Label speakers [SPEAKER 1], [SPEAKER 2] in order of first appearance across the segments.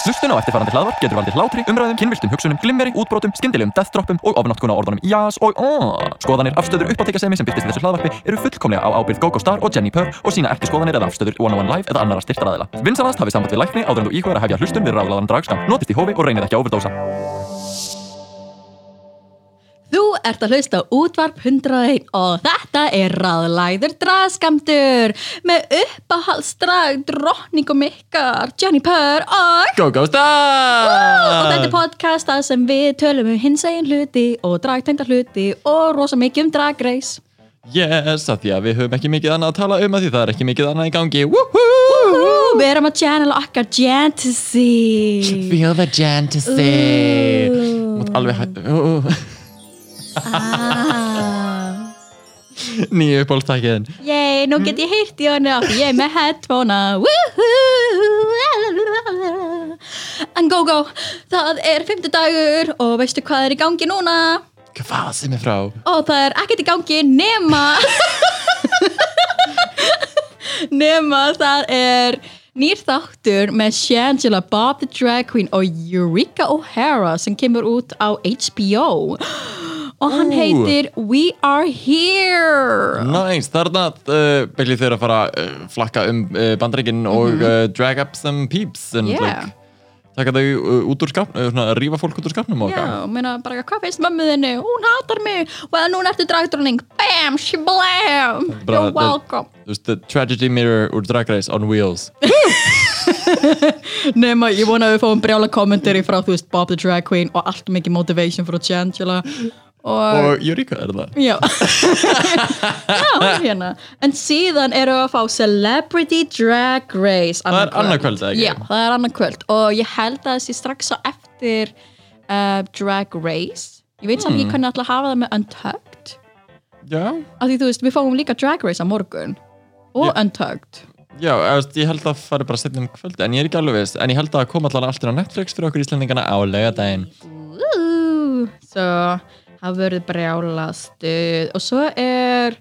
[SPEAKER 1] Hlustun á eftirfarandi hlaðvarp getur valdið hlátri, umræðum, kynviltum hugsunum, glimmeri, útbrotum, skyndilegum deathdroppum og ofnáttkun á orðunum jás og aaaah. Skoðanir, afstöður, uppáttekasemi sem byrtist í þessu hlaðvarpi eru fullkomlega á ábyrgð GoGo Star og Jenny Purr og sína ekki skoðanir eða afstöður One on One Live eða annara styrtaraðila. Vinsanast hafið samband við lækni áður en þú íhugar að hefja hlustun við ráðlaðan dragskam. Notist í hófi og reynið ekki að overdósa.
[SPEAKER 2] Þú ert að hlusta á útvarp 101 og þetta er ráðlæður dragskamtur með uppáhaldsdrag drottningum ykkar Jenny Purr og
[SPEAKER 1] GoGo Star!
[SPEAKER 2] og þetta er podcast þar sem við tölum um hinsegin hluti og dragtengda hluti og rosa mikið um dragreis
[SPEAKER 1] Yes, að því að við höfum ekki mikið annað að tala um að því það er ekki mikið annað í gangi Woohoo!
[SPEAKER 2] Ú, Við erum að channel okkar Jantasy
[SPEAKER 1] Feel the fantasy
[SPEAKER 2] Ooh.
[SPEAKER 1] Mátt alveg hæ... Uh,
[SPEAKER 2] ah.
[SPEAKER 1] nýju uppbólstækiðin
[SPEAKER 2] Yay, nú get ég heyrt í honu af því ég er með headphonea Woohoo. En go go, það er fimmtudagur og veistu hvað er í gangi núna?
[SPEAKER 1] Hvað sem er frá?
[SPEAKER 2] Og það er ekkert í gangi nema Nema það er nýr þáttur með Shangela, Bob the Drag Queen og Eureka O'Hara sem kemur út á HBO Og hann
[SPEAKER 1] Ú.
[SPEAKER 2] heitir We Are Here
[SPEAKER 1] Næs, þarna uh, byrjið þeir að fara uh, flakka um uh, bandreikinn og uh, drag up some peeps and
[SPEAKER 2] Yeah.
[SPEAKER 1] like taka þau uh, út úr skapnum, uh, svona, rífa fólk út úr skapnum og
[SPEAKER 2] Já, meina bara hvað finnst mömmu þinni? Hún hatar mig. Well, núna ertu dragdronning. Bam, shablam.
[SPEAKER 1] Bara-
[SPEAKER 2] You're welcome.
[SPEAKER 1] Þú veist, the tragedy mirror úr Drag Race on wheels
[SPEAKER 2] Nefna, ég vona að við fáum brjála kommentari frá, þú veist, Bob the Drag Queen og allt mikið motivation frá Changela. Og,
[SPEAKER 1] og Eureka er það
[SPEAKER 2] já. já, hérna. En síðan erum við að fá Celebrity Drag Race.
[SPEAKER 1] Það er annað kvöld, eða ekki?
[SPEAKER 2] Já, það er annað kvöld. Og ég held að það sé strax á eftir uh, Drag Race. Ég veit samt
[SPEAKER 1] Hmm.
[SPEAKER 2] ekki hvernig ætla að hafa það með Untucked.
[SPEAKER 1] Já,
[SPEAKER 2] að því þú veist, við fáum líka Drag Race á morgun og
[SPEAKER 1] Já.
[SPEAKER 2] Untugged
[SPEAKER 1] já ég veist, ég held að fara bara setjum kvöld en ég er ekki alveg viss, en ég held að koma allan allt inn á Netflix fyrir okkur íslendingana á laugardaginn
[SPEAKER 2] Úú, svo það verður brjála stuð og svo er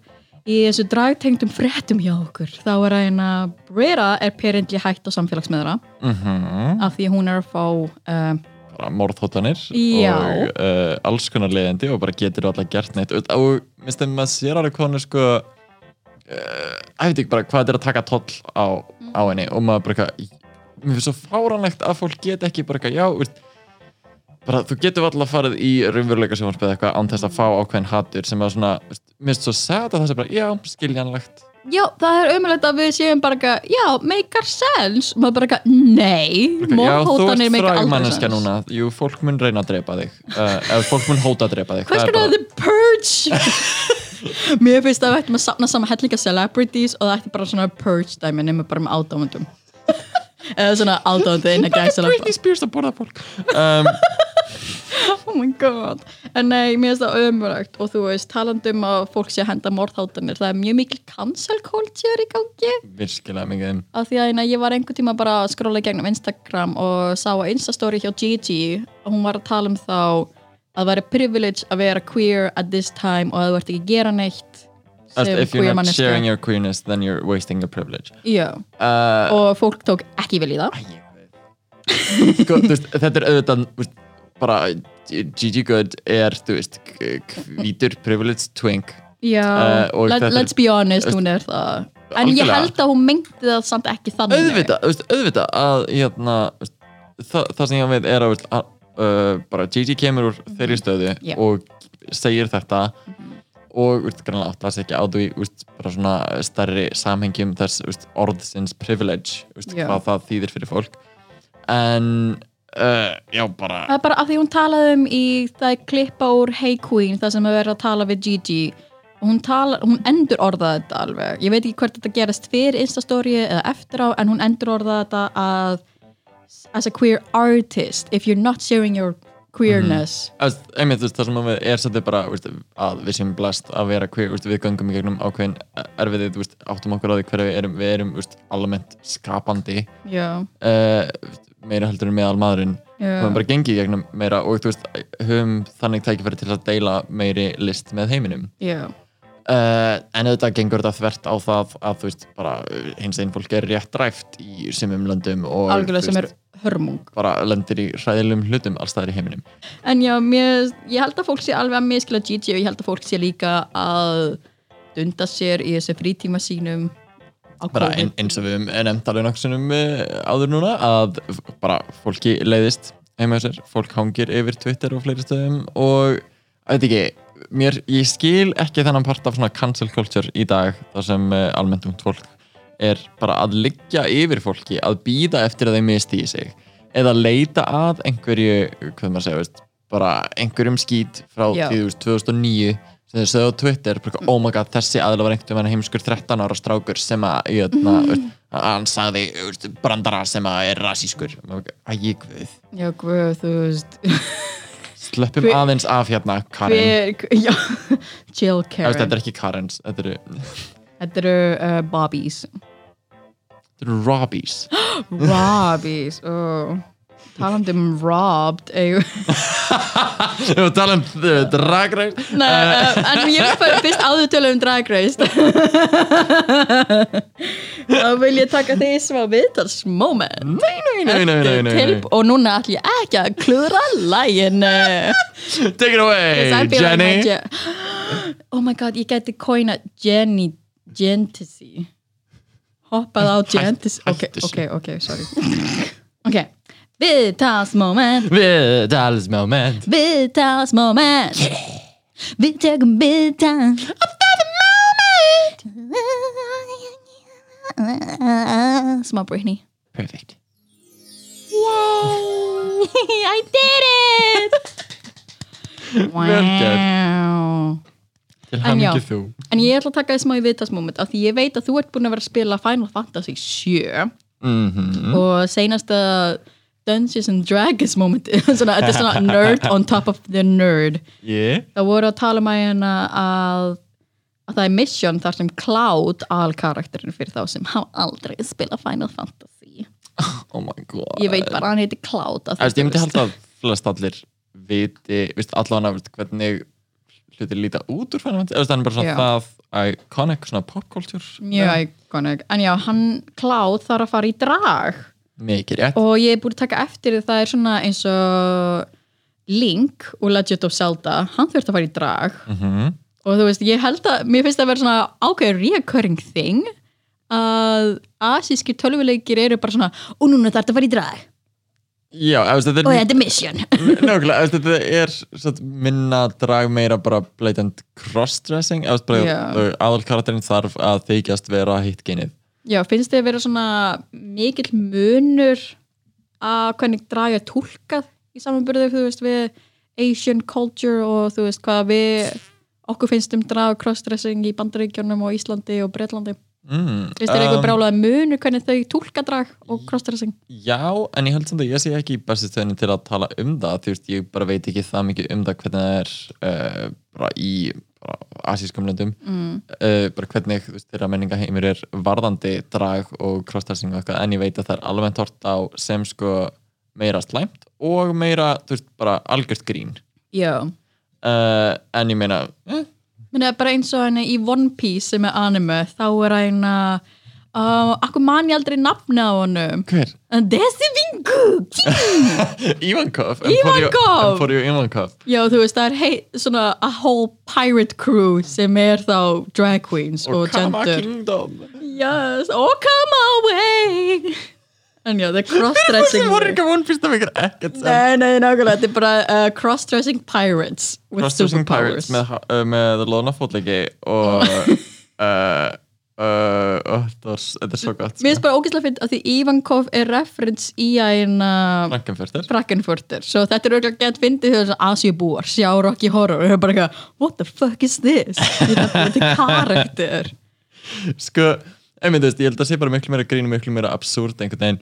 [SPEAKER 2] í þessu dragtengdum fréttum hjá okkur þá er að hérna Brera er perindli hætt á samfélagsmiðra
[SPEAKER 1] mm -hmm.
[SPEAKER 2] af því að hún er að fá um,
[SPEAKER 1] bara morðhóttanir
[SPEAKER 2] Já.
[SPEAKER 1] og uh, alls konar leiðindi og bara getur alltaf gert neitt og, og minnst þeim maður sér alveg konu sko uh, ég veit ekki bara hvað þetta er að taka toll á, á henni og maður bara eitthvað í- mér finnst svo fáranlegt að fólk get ekki bara eitthvað já úr, bara þú getur alltaf farið í raunveruleika sjónvarpið eitthvað án þess að fá ákveðin hattur sem er svona, veist, mér finnst svo sætt að það sé bara já, skiljanlegt
[SPEAKER 2] já, það er umhverfilegt að við séum bara eitthvað, já, makear sense maður bara eitthvað, nei
[SPEAKER 1] já, þú
[SPEAKER 2] morðhóttanir
[SPEAKER 1] ert
[SPEAKER 2] make
[SPEAKER 1] fræg
[SPEAKER 2] aldrei
[SPEAKER 1] manneskja
[SPEAKER 2] sense
[SPEAKER 1] núna jú, fólk mun reyna að drepa þig uh, eða fólk mun hóta að drepa þig
[SPEAKER 2] Hvers
[SPEAKER 1] Það er
[SPEAKER 2] konar The Purge? Mér finnst að við ættum að sapna saman hellinga celebrities og það ætti bara svona Purge dæmi nema bara með ádámundum. Eða svona ádámundið innan gæsa
[SPEAKER 1] bara Britney Spears að borða fólk um,
[SPEAKER 2] Oh my god. En nei, mér finnst það ömurlegt og þú veist, talandi um að fólk sé að henda morðhátanir, það er mjög mikil cancel culture í gangi.
[SPEAKER 1] virkilega mikið
[SPEAKER 2] af því að hérna, ég var einhver tíma bara að skróla í gegnum Instagram og sá að Instastory hjá Gigi og hún var að tala um þá að það væri privilege að vera queer at this time og að þú ert ekki að gera neitt
[SPEAKER 1] As
[SPEAKER 2] sem
[SPEAKER 1] if you're
[SPEAKER 2] queer
[SPEAKER 1] not
[SPEAKER 2] manneskja
[SPEAKER 1] sharing your queerness then you're wasting your privilege
[SPEAKER 2] Já,
[SPEAKER 1] uh,
[SPEAKER 2] og fólk tók ekki vel í það
[SPEAKER 1] sko, þú veist, þetta er auðvitað þú veist, bara Gigi Good er þú veist k- hvítur privileged twink
[SPEAKER 2] Já,
[SPEAKER 1] Eh, og
[SPEAKER 2] let,
[SPEAKER 1] þetta er-
[SPEAKER 2] let's be honest, hún er það En ég
[SPEAKER 1] Algjörlega.
[SPEAKER 2] held að hún mengdi það samt ekki þannig
[SPEAKER 1] auðvitað, þú veist, auðvitað að hérna, þú veist, það, það sem ég á við er að, þú veist, að uh, bara Gigi kemur úr þeirri stöðu
[SPEAKER 2] Mhm. Já. Mhm.
[SPEAKER 1] og segir þetta og úst, grannlega átt að segja á því úst, bara svona stærri samhengjum þess úst, orðsins privilege úst,
[SPEAKER 2] Já.
[SPEAKER 1] hvað það þýðir fyrir fólk en uh, já bara
[SPEAKER 2] Það er bara af því hún talaði um í það er klippa úr Hey Queen það sem er verið að tala við Gigi og hún, tala, hún endur orðaði þetta alveg ég veit ekki hvert þetta gerist fyrir Instastory eða eftir á en hún endur orðaði þetta að as a queer artist if you're not sharing your queerness
[SPEAKER 1] Þú veist, einmitt, þú veist, það sem að við er svolítið bara þú veist, að við sem blast að vera queer þú veist, við göngum í gegnum ákveðin erfiðið þú veist, áttum okkur á því hverja við erum við erum þú veist, almennt skapandi
[SPEAKER 2] já,
[SPEAKER 1] uh, meira heldur en meðal maðurinn
[SPEAKER 2] Já.
[SPEAKER 1] við höfum bara gengið í gegnum meira og þú veist, höfum þannig tækifæri til að deila meiri list með heiminum
[SPEAKER 2] já,
[SPEAKER 1] uh, en auðvitað gengur þetta þvert á það að þú veist bara uh, hins einn fólk er rétt dræft í sumum löndum og
[SPEAKER 2] algjörlega
[SPEAKER 1] þú
[SPEAKER 2] sem er
[SPEAKER 1] veist,
[SPEAKER 2] hörmung
[SPEAKER 1] bara lendir í hræðilegum hlutum allstaðar í heiminum
[SPEAKER 2] En já, mér, ég held að fólk sé alveg að miskila Gigi og ég held að fólk sé líka að dunda sér í þessu frítíma sínum á
[SPEAKER 1] bara
[SPEAKER 2] COVID.
[SPEAKER 1] ein, eins og við höfum nefnt alveg nokkusunum áður núna að f- bara fólki leiðist heima hjá sér, fólk hangir yfir Twitter og fleiri stöðum og að þetta ekki, mér, ég skil ekki þennan part af svona cancel culture í dag þar sem uh, almennt ungt fólk er bara að liggja yfir fólki að býða eftir að þeim misti í sig eða leita að einhverju hvað maður segja, veist, bara einhverjum skít frá
[SPEAKER 2] Já.
[SPEAKER 1] því þú veist, 2009 sem þeir sögðu á Twitter, bara, oh my god, þessi aðla var einhvern veginn heimskur 13 ára strákur sem að, jötna,
[SPEAKER 2] Mhm.
[SPEAKER 1] mm. hann sagði veist, brandara sem að er rasískur æg, guð,
[SPEAKER 2] Já, guð, þú veist,
[SPEAKER 1] slöppum
[SPEAKER 2] Hver-
[SPEAKER 1] aðeins af hérna Karen,
[SPEAKER 2] hver, já, chill
[SPEAKER 1] Karen.
[SPEAKER 2] Karen,
[SPEAKER 1] þetta er ekki Karens þetta eru, þetta
[SPEAKER 2] þetta eru uh, Bobbies.
[SPEAKER 1] eru Robbies
[SPEAKER 2] Robbies, ó, talandi um robbed, eigum.
[SPEAKER 1] við erum að tala um uh, Drag Race
[SPEAKER 2] Nei, uh, en ég vil fara fyrst áður tölum um Drag Race þá vil ég taka því smá viðtalsmoment nei,
[SPEAKER 1] nei, nei, nei, nei, nei, nei.
[SPEAKER 2] og núna ætlum ég ekki að klúðra lægin
[SPEAKER 1] take it away, Jenny
[SPEAKER 2] oh my god, ég geti coina Jenny Gentisi hoppað á Gentisi ok,
[SPEAKER 1] hættu
[SPEAKER 2] ok, ok, sorry ok, viðtalsmoment
[SPEAKER 1] við talsmoment
[SPEAKER 2] viðtalsmoment við tekum viðtals smá Britney
[SPEAKER 1] perfect
[SPEAKER 2] Yay! I did it!
[SPEAKER 1] Vel til
[SPEAKER 2] En
[SPEAKER 1] hann
[SPEAKER 2] já.
[SPEAKER 1] ekki þú
[SPEAKER 2] En ég ætla að taka því smá í viðtalsmoment af því ég veit að þú ert búin að vera að spila Final Fantasy 7
[SPEAKER 1] Mhm.
[SPEAKER 2] og seinasta Dungeons and Dragons moment svona, þetta er svona nerd on top of the nerd
[SPEAKER 1] yeah
[SPEAKER 2] það voru að tala um að hérna að að það er mission þar sem Cloud alkarakterin fyrir þá sem hafa aldrei spilað Final Fantasy
[SPEAKER 1] oh my god
[SPEAKER 2] ég veit bara að hann heiti Cloud af því
[SPEAKER 1] Æst, ég myndi
[SPEAKER 2] þú veist.
[SPEAKER 1] halda að flest allir viti, veist, allan að veist, hvernig hlutir líta út úr fænum það er bara svona
[SPEAKER 2] Já.
[SPEAKER 1] það iconic svona pop culture
[SPEAKER 2] mjög iconic en já, hann Cloud þarf að fara í drag
[SPEAKER 1] mikið rétt
[SPEAKER 2] og ég er búin að taka eftir því það er svona eins og Link úr Legend of Zelda hann þurft að fara í drag
[SPEAKER 1] Mhm.
[SPEAKER 2] og þú veist, ég held að, mér finnst það að vera svona ákveður reoccurring thing að asískir tölvuleikir eru bara svona, og núna þarf það að fara í drag
[SPEAKER 1] já, þú veist,
[SPEAKER 2] og
[SPEAKER 1] þetta er
[SPEAKER 2] þetta er mission
[SPEAKER 1] Nákvæmlega, þú veist, þetta er satt, minna drag meira bara blatant crossdressing, eða bara
[SPEAKER 2] Já.
[SPEAKER 1] yeah. aðalkarakterinn þarf að þykjast vera hitt genið.
[SPEAKER 2] Já, finnst þið að vera svona mikill munur að hvernig drag er tólkað í samanburðið, þú veist, við Asian culture og þú veist hvað við okkur finnst um drag og crossdressing í Bandaríkjunum og Íslandi og Bretlandi
[SPEAKER 1] Mm,
[SPEAKER 2] finnst þér
[SPEAKER 1] um,
[SPEAKER 2] eitthvað brjálaði munur hvernig þau tólka drag og crossdressing
[SPEAKER 1] Já, en ég held samt að ég sé ekki í bestu stöðinni til að tala um það þú veist, ég bara veit ekki það mikið um það hvernig það er uh, bara í bara asískum löndum
[SPEAKER 2] mm.
[SPEAKER 1] uh, bara hvernig þú veist, þeirra menningaheimur er varðandi drag og crossdressing og eitthvað, en ég veit að það er alveg hort á sem sko meira slæmt og meira, þú veist, bara algjört grín
[SPEAKER 2] Já,
[SPEAKER 1] uh, en ég meina eh,
[SPEAKER 2] menn það er bara eins og henni í One Piece sem er anime, þá er hann að uh, akkur man ég aldrei nafna á honum
[SPEAKER 1] hver?
[SPEAKER 2] Desi Vingu,
[SPEAKER 1] Ivankov
[SPEAKER 2] Ivankov!
[SPEAKER 1] Emporio Ivankov
[SPEAKER 2] Já, þú veist, það er hei, svona a whole pirate crew sem er þá drag queens og,
[SPEAKER 1] og Kama
[SPEAKER 2] gender.
[SPEAKER 1] Kingdom
[SPEAKER 2] Yes, oh come away! En já, það er
[SPEAKER 1] Þessi
[SPEAKER 2] cross-dressing.
[SPEAKER 1] voru ekki að vonfyrsta mikið ekkert sem
[SPEAKER 2] Nei, nei, nákvæmlega, þetta er bara uh, cross-dressing pirates with
[SPEAKER 1] Crossdressing
[SPEAKER 2] superpowers.
[SPEAKER 1] Pirates með, uh, með loðnafótleiki og uh, uh, uh, það var, þetta er svo gott
[SPEAKER 2] Mér finnst bara ógeðslega fint að því Ivankov er reference í að eina
[SPEAKER 1] Frankenfurter
[SPEAKER 2] Frankenfurter, svo þetta er auðvitað gett fyndið þau þess að Asiubúar sjá Rocky Horror og þau eru bara eitthvað, what the fuck is this? Þetta er karakter.
[SPEAKER 1] sko, einmitt, þú veist, ég held að sé bara miklu meira grín og miklu meira absúrt einhvern veginn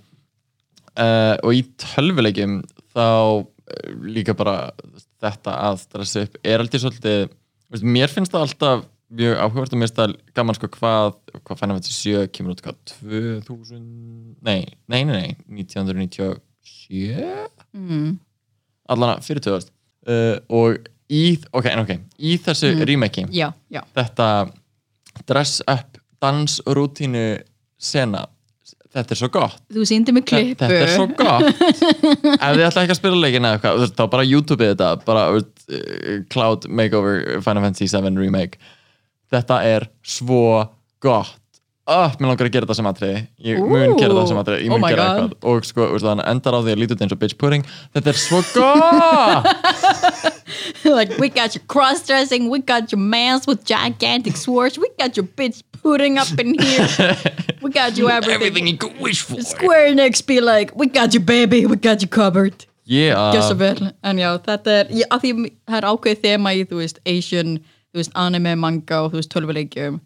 [SPEAKER 1] uh, og í tölvuleikjum þá eh, líka bara þú veist, þetta að stressa upp er aldrei svolítið þú veist, mér finnst það alltaf mjög áhugavert og mér finnst það gaman sko hvað hvað fænum við til sjö kemur út hvað 2000, nei, nei, nei, nei 1997
[SPEAKER 2] Mm.
[SPEAKER 1] allan að fyrir 2000 uh, og í, ok, en ok, í þessu
[SPEAKER 2] Mm.
[SPEAKER 1] mm. remake
[SPEAKER 2] já, já,
[SPEAKER 1] þetta dress up dansrútínu sena þetta er svo gott
[SPEAKER 2] þú síndi mig
[SPEAKER 1] Þe-
[SPEAKER 2] klippu
[SPEAKER 1] þetta er svo gott ef þið ætla ekki að spila leikin eða eitthvað þú veist, þá bara YouTube þetta bara uh, Cloud Makeover Final Fantasy 7 Remake þetta er svo gott Oh, mér langar að gera þetta sem atriði ég mun
[SPEAKER 2] Ú,
[SPEAKER 1] gera það sem atriði, ég
[SPEAKER 2] oh
[SPEAKER 1] mun
[SPEAKER 2] my
[SPEAKER 1] gera
[SPEAKER 2] God.
[SPEAKER 1] eitthvað og sko, úr, þannig endar á því að lítið eins og bitch pudding þetta er svo gott
[SPEAKER 2] like we got your cross-dressing, we got your mans with gigantic swords, we got your bitch pudding up in here, we got you everything.
[SPEAKER 1] everything you could wish for
[SPEAKER 2] Square Enix be like, we got you baby, we got you covered.
[SPEAKER 1] yeah,
[SPEAKER 2] Gjör svo vel, en já, þetta er, ég, að því það er ákveðið þema í, þú veist, Asian, þú veist, anime, manga og þú veist, tölvuleikjum,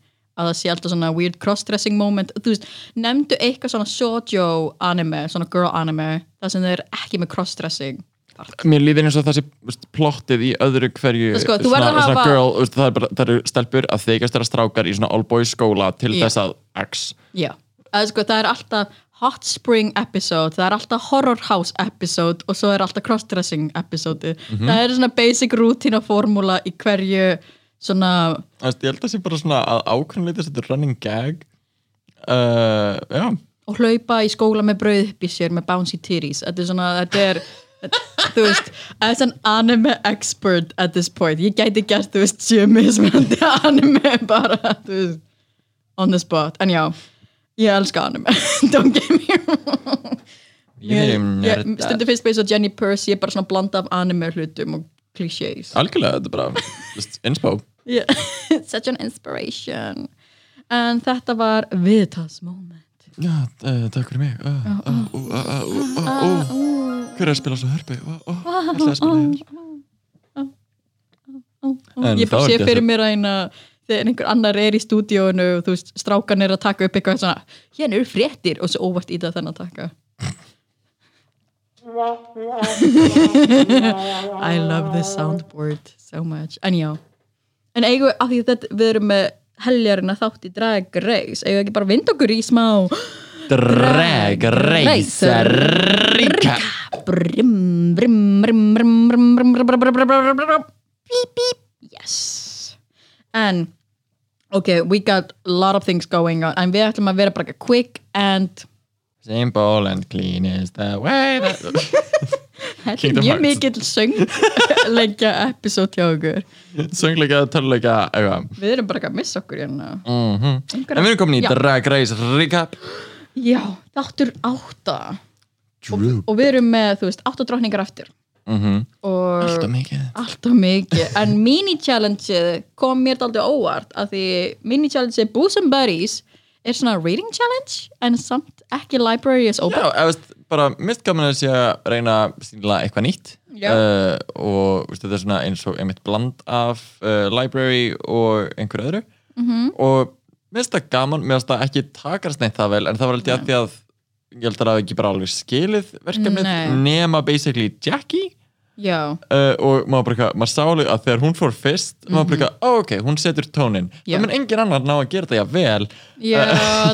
[SPEAKER 2] að það sé alltaf svona weird cross-dressing moment, þú veist, nefndu eitthvað svona shoujo anime, svona girl anime, það sem þeir eru ekki með cross-dressing.
[SPEAKER 1] mér líður eins og það sé veist, plottið í öðru hverju
[SPEAKER 2] Það sko, þú verður að hafa-
[SPEAKER 1] girl, veist, það, er bara, það eru stelpur að þykast þeirra strákar í svona all boys skóla til
[SPEAKER 2] Já.
[SPEAKER 1] þess að X
[SPEAKER 2] Já, að sko það er alltaf Hot Spring episode, það er alltaf Horror House episode og svo er alltaf Crossdressing episode. Það er svona basic rútín og formúla í hverju svona,
[SPEAKER 1] Þú veist, ég held að sé bara svona að ákveðinleita þetta er running gag uh, já,
[SPEAKER 2] og hlaupa í skóla með brauð upp í sér með bouncy titties. Þetta er svona, þetta er þú veist, as an anime expert at this point, ég gæti gert þú veist, sjö mismunandi anime bara, þú veist on the spot, en já ég elska anime, don't get me wrong
[SPEAKER 1] ég,
[SPEAKER 2] Ég,
[SPEAKER 1] ég,
[SPEAKER 2] ég stundi fyrst með þess að Jenny Percy er bara svona blanda af anime hlutum og clichés.
[SPEAKER 1] algjörlega þetta er bara veist, inspo
[SPEAKER 2] Yeah. Such an inspiration. En þetta var Vitas moment.
[SPEAKER 1] já, uh, takk fyrir mig uh, uh,
[SPEAKER 2] ah.
[SPEAKER 1] uh, uh, uh, uh, uh, hver er að spila svo hörpi uh, uh, ætlaði að spila hér. En
[SPEAKER 2] Ég
[SPEAKER 1] það
[SPEAKER 2] bara
[SPEAKER 1] var
[SPEAKER 2] sé
[SPEAKER 1] ekki
[SPEAKER 2] fyrir
[SPEAKER 1] þessi.
[SPEAKER 2] mér að eina þegar einhver annar er í stúdíónu og þú veist, strákan er að taka upp eitthvað svona hérna eru fréttir og svo óvart í það þannig að taka I love this soundboard so much, en já en eigum við, af því þetta við erum með heljarinn að þátt í drag race eigum við ekki bara að vinda okkur í smá
[SPEAKER 1] drag race ríka
[SPEAKER 2] brim, brim, brim, brim, brim, brim, brim, brim, brim, brim, brim, brim, brim, bíp, bíp, yes en ok, we got a lot of things going on en við ætlum að vera bara quick and
[SPEAKER 1] simple and clean is the way that
[SPEAKER 2] þetta er
[SPEAKER 1] Kingdom
[SPEAKER 2] mjög
[SPEAKER 1] Hearts.
[SPEAKER 2] mikill söng lengja episode hjá okkur
[SPEAKER 1] söngleika, töluleika, eitthvað
[SPEAKER 2] við erum bara að missa okkur hérna
[SPEAKER 1] mm en við erum komin í
[SPEAKER 2] Já.
[SPEAKER 1] Drag Race Recap
[SPEAKER 2] já, þáttur átta
[SPEAKER 1] Droop
[SPEAKER 2] og við erum með, þú veist, átta drókningar eftir
[SPEAKER 1] Mhm.
[SPEAKER 2] og
[SPEAKER 1] Alltaf mikið
[SPEAKER 2] Alltaf mikið, en mini-challenge kom mér daldið óvart að því mini-challenge Booze and Buddies er svona reading challenge en samt ekki library is open
[SPEAKER 1] Já, eða veist, bara mist gaman að sé að reyna að stíla eitthvað nýtt
[SPEAKER 2] Já.
[SPEAKER 1] uh, og veist, þetta er svona eins og einmitt bland af uh, library og einhver öðru -hmm.
[SPEAKER 2] Mhm.
[SPEAKER 1] og mist það gaman, mér finnst það ekki takast neitt það vel, en það var alltaf að því að ég held að það hafi ekki bara alveg skilið verkefnið,
[SPEAKER 2] Nei.
[SPEAKER 1] nema basically Jackie
[SPEAKER 2] Já,
[SPEAKER 1] uh, og maður bara eitthvað, maður sáli að þegar hún fór fyrst, maður bara eitthvað, ó, ok, hún setur tónin
[SPEAKER 2] Mhm. Já.
[SPEAKER 1] það mun engin annar ná að gera það jafnvel
[SPEAKER 2] já,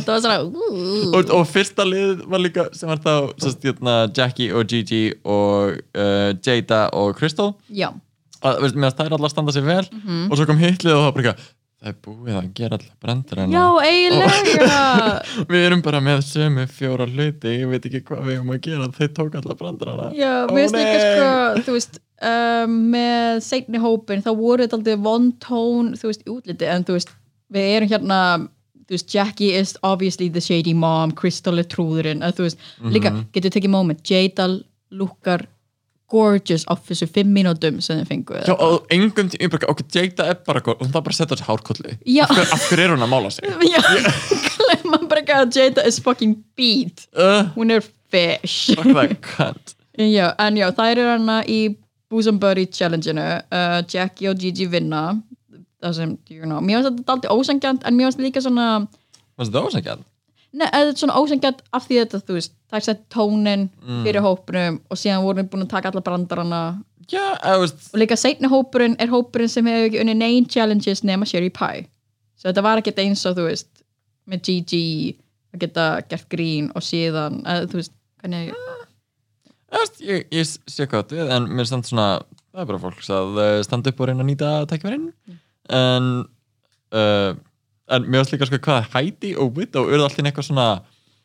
[SPEAKER 2] það var svona ú,
[SPEAKER 1] og, og fyrsta lið var líka sem var þá sest, jötna, Jackie og Gigi og uh, Jada og Crystal
[SPEAKER 2] Já,
[SPEAKER 1] að, veist, með að þær allar standa sér vel
[SPEAKER 2] Mhm.
[SPEAKER 1] og svo kom hitt lið og það var bara eitthvað, það er búið að gera allar brendur
[SPEAKER 2] já, eiginlega
[SPEAKER 1] við erum bara með sömu fjóra hluti ég veit ekki hvað við erum að gera þeir tók allar brendur
[SPEAKER 2] Já, mér finnst líka sko, þú veist um, með seinni hópin þá voru þetta aldrei von tón, þú veist, í útliti en þú veist, við erum hérna þú veist, Jackie is obviously the shady mom Crystal er trúðurinn að, þú veist, líka, getur tekið moment Jada lukkar gorgeous á þessu fimm mínútum sem þið fengu
[SPEAKER 1] Já, og engum tíma, bara, ok, Jada er bara góð, hún þarf bara að setja þessi hárkollu.
[SPEAKER 2] Já.
[SPEAKER 1] Af, hver, af hver er hún að mála sig?
[SPEAKER 2] Já, glemma bara ekki að Jada is fucking beat
[SPEAKER 1] Uh,
[SPEAKER 2] hún er fish
[SPEAKER 1] fuck that cunt.
[SPEAKER 2] Já, en já, þær eru hana í Bosom Buddy Challenge-inu uh, Jackie og Gigi vinna það sem, you know, mér finnst þetta aldrei ósengjant en mér finnst líka svona
[SPEAKER 1] Fannst það ósækjað?
[SPEAKER 2] neða, þetta er svona ósengjant af því þetta, þú veist, þær sett tónin fyrir hópnum og síðan vorum við búin að taka alla brandarana
[SPEAKER 1] Já, eða, veist,
[SPEAKER 2] og líka seinni hópurinn er hópurinn sem hefur ekki unni nein challenges nema Sherry Pie svo þetta var ekkert eins og, þú veist með Gigi að geta gert grín og síðan, uh, þú veist, hvernig
[SPEAKER 1] eða, veist, ég, ég sé hvað þú við, en mér er samt svona, það er bara fólks að eh, standa upp og reyna að nýta tækifærin en uh, en mér varst líka sko hvað Heidi og Widow urðu alltaf eitthvað svona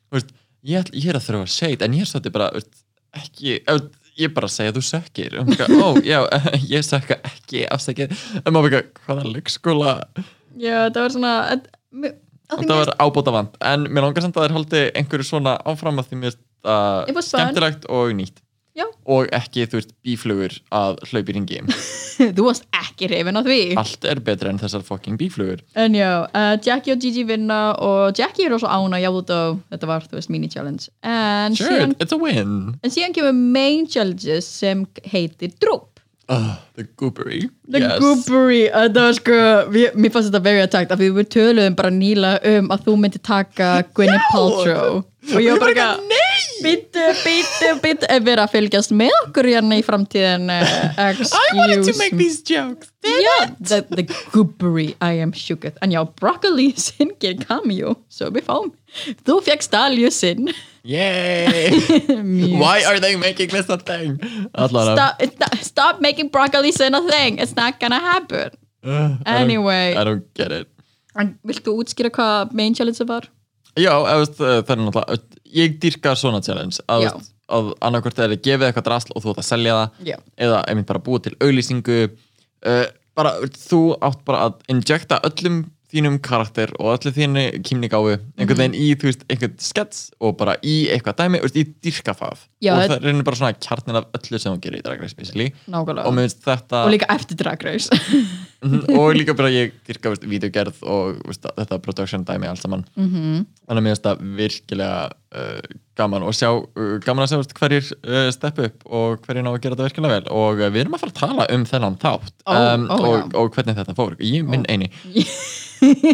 [SPEAKER 1] þú veist, ég, ætl, ég er að þurfa að segja þetta en ég er svolítið bara þú veist, ekki eh, ég er bara að segja að þú sökkir og maður bara, ó já, ég sökka ekki afsækið en maður bara, hvaða leikskóla
[SPEAKER 2] já, það var svona að, mér- að
[SPEAKER 1] og
[SPEAKER 2] því
[SPEAKER 1] það
[SPEAKER 2] mér
[SPEAKER 1] var ábóta vant en mér langar samt að þær haldi einhverju svona áfram að því mér
[SPEAKER 2] It
[SPEAKER 1] uh,
[SPEAKER 2] was fun.
[SPEAKER 1] skemmtilegt og nýtt
[SPEAKER 2] Já.
[SPEAKER 1] og ekki, þú veist, bíflugur að hlaupi ringi
[SPEAKER 2] þú varst ekki reyfin á því
[SPEAKER 1] allt er betra en þessar fucking bíflugur
[SPEAKER 2] en já, uh, Jackie og Gigi vinna og Jackie er rosa ána, já út á þetta var, þú veist, mini-challenge en,
[SPEAKER 1] sure,
[SPEAKER 2] síðan,
[SPEAKER 1] it's a win
[SPEAKER 2] en síðan kemur main challenges sem heitir Droop
[SPEAKER 1] uh, the goobery
[SPEAKER 2] The yes. goobery, þetta var sko við, mér fannst þetta very attacked af því við töluðum bara nýla um að þú myndi taka Gwyneth Paltrow og ég var bara eitthvað,
[SPEAKER 1] nei
[SPEAKER 2] bítu, bítu, bítu ef við erum að fylgjast með okkur hérna í framtíðin eh,
[SPEAKER 1] I wanted to
[SPEAKER 2] excuse
[SPEAKER 1] make
[SPEAKER 2] me
[SPEAKER 1] these jokes
[SPEAKER 2] yeah, the, the goobery, I am shooketh en já, broccoli sinn gerir cameo so við fáum, þú fegst alju sinn
[SPEAKER 1] yay why are they making this a thing allan
[SPEAKER 2] stop, it's not- stop making broccoli sinn a thing it's not gonna happen
[SPEAKER 1] uh,
[SPEAKER 2] Anyway.
[SPEAKER 1] I don't, I don't get it
[SPEAKER 2] en viltu útskýra hvað main challenge var?
[SPEAKER 1] Já, eða, veist, eh, það er náttúrulega ég dýrka svona challenge að,
[SPEAKER 2] Já.
[SPEAKER 1] veist, að annarkvort er að gefa eitthvað drasl og þú ætti að selja það
[SPEAKER 2] Já.
[SPEAKER 1] eða einmitt bara búa til auglýsingu uh, bara veist, þú átt bara að injecta öllum þínum karakter og öllu þínu kýmningáfu einhvern veginn í, þú veist, einhvern skets og bara í eitthvað dæmi, veist, ég dýrka það
[SPEAKER 2] Já,
[SPEAKER 1] og
[SPEAKER 2] þetta-
[SPEAKER 1] það reynir bara svona kjarnin af öllu sem hún gerir í Drag Race basically
[SPEAKER 2] Nákvæmlega.
[SPEAKER 1] og mér finnst þetta
[SPEAKER 2] og líka eftir Drag Race
[SPEAKER 1] Mhm, og líka bara ég dyrka veist, videogerð og veist, þetta production dæmi allt saman -hmm.
[SPEAKER 2] Mhm.
[SPEAKER 1] þannig að mér finnst það virkilega uh, gaman og sjá, uh, gaman að sjá veist, hverjir uh, steppu upp og hverjir ná að gera þetta virkilega vel og uh, við erum að fara að tala um þennan þátt
[SPEAKER 2] Ó, ó,
[SPEAKER 1] og,
[SPEAKER 2] já.
[SPEAKER 1] og hvernig þetta fór ég minn eini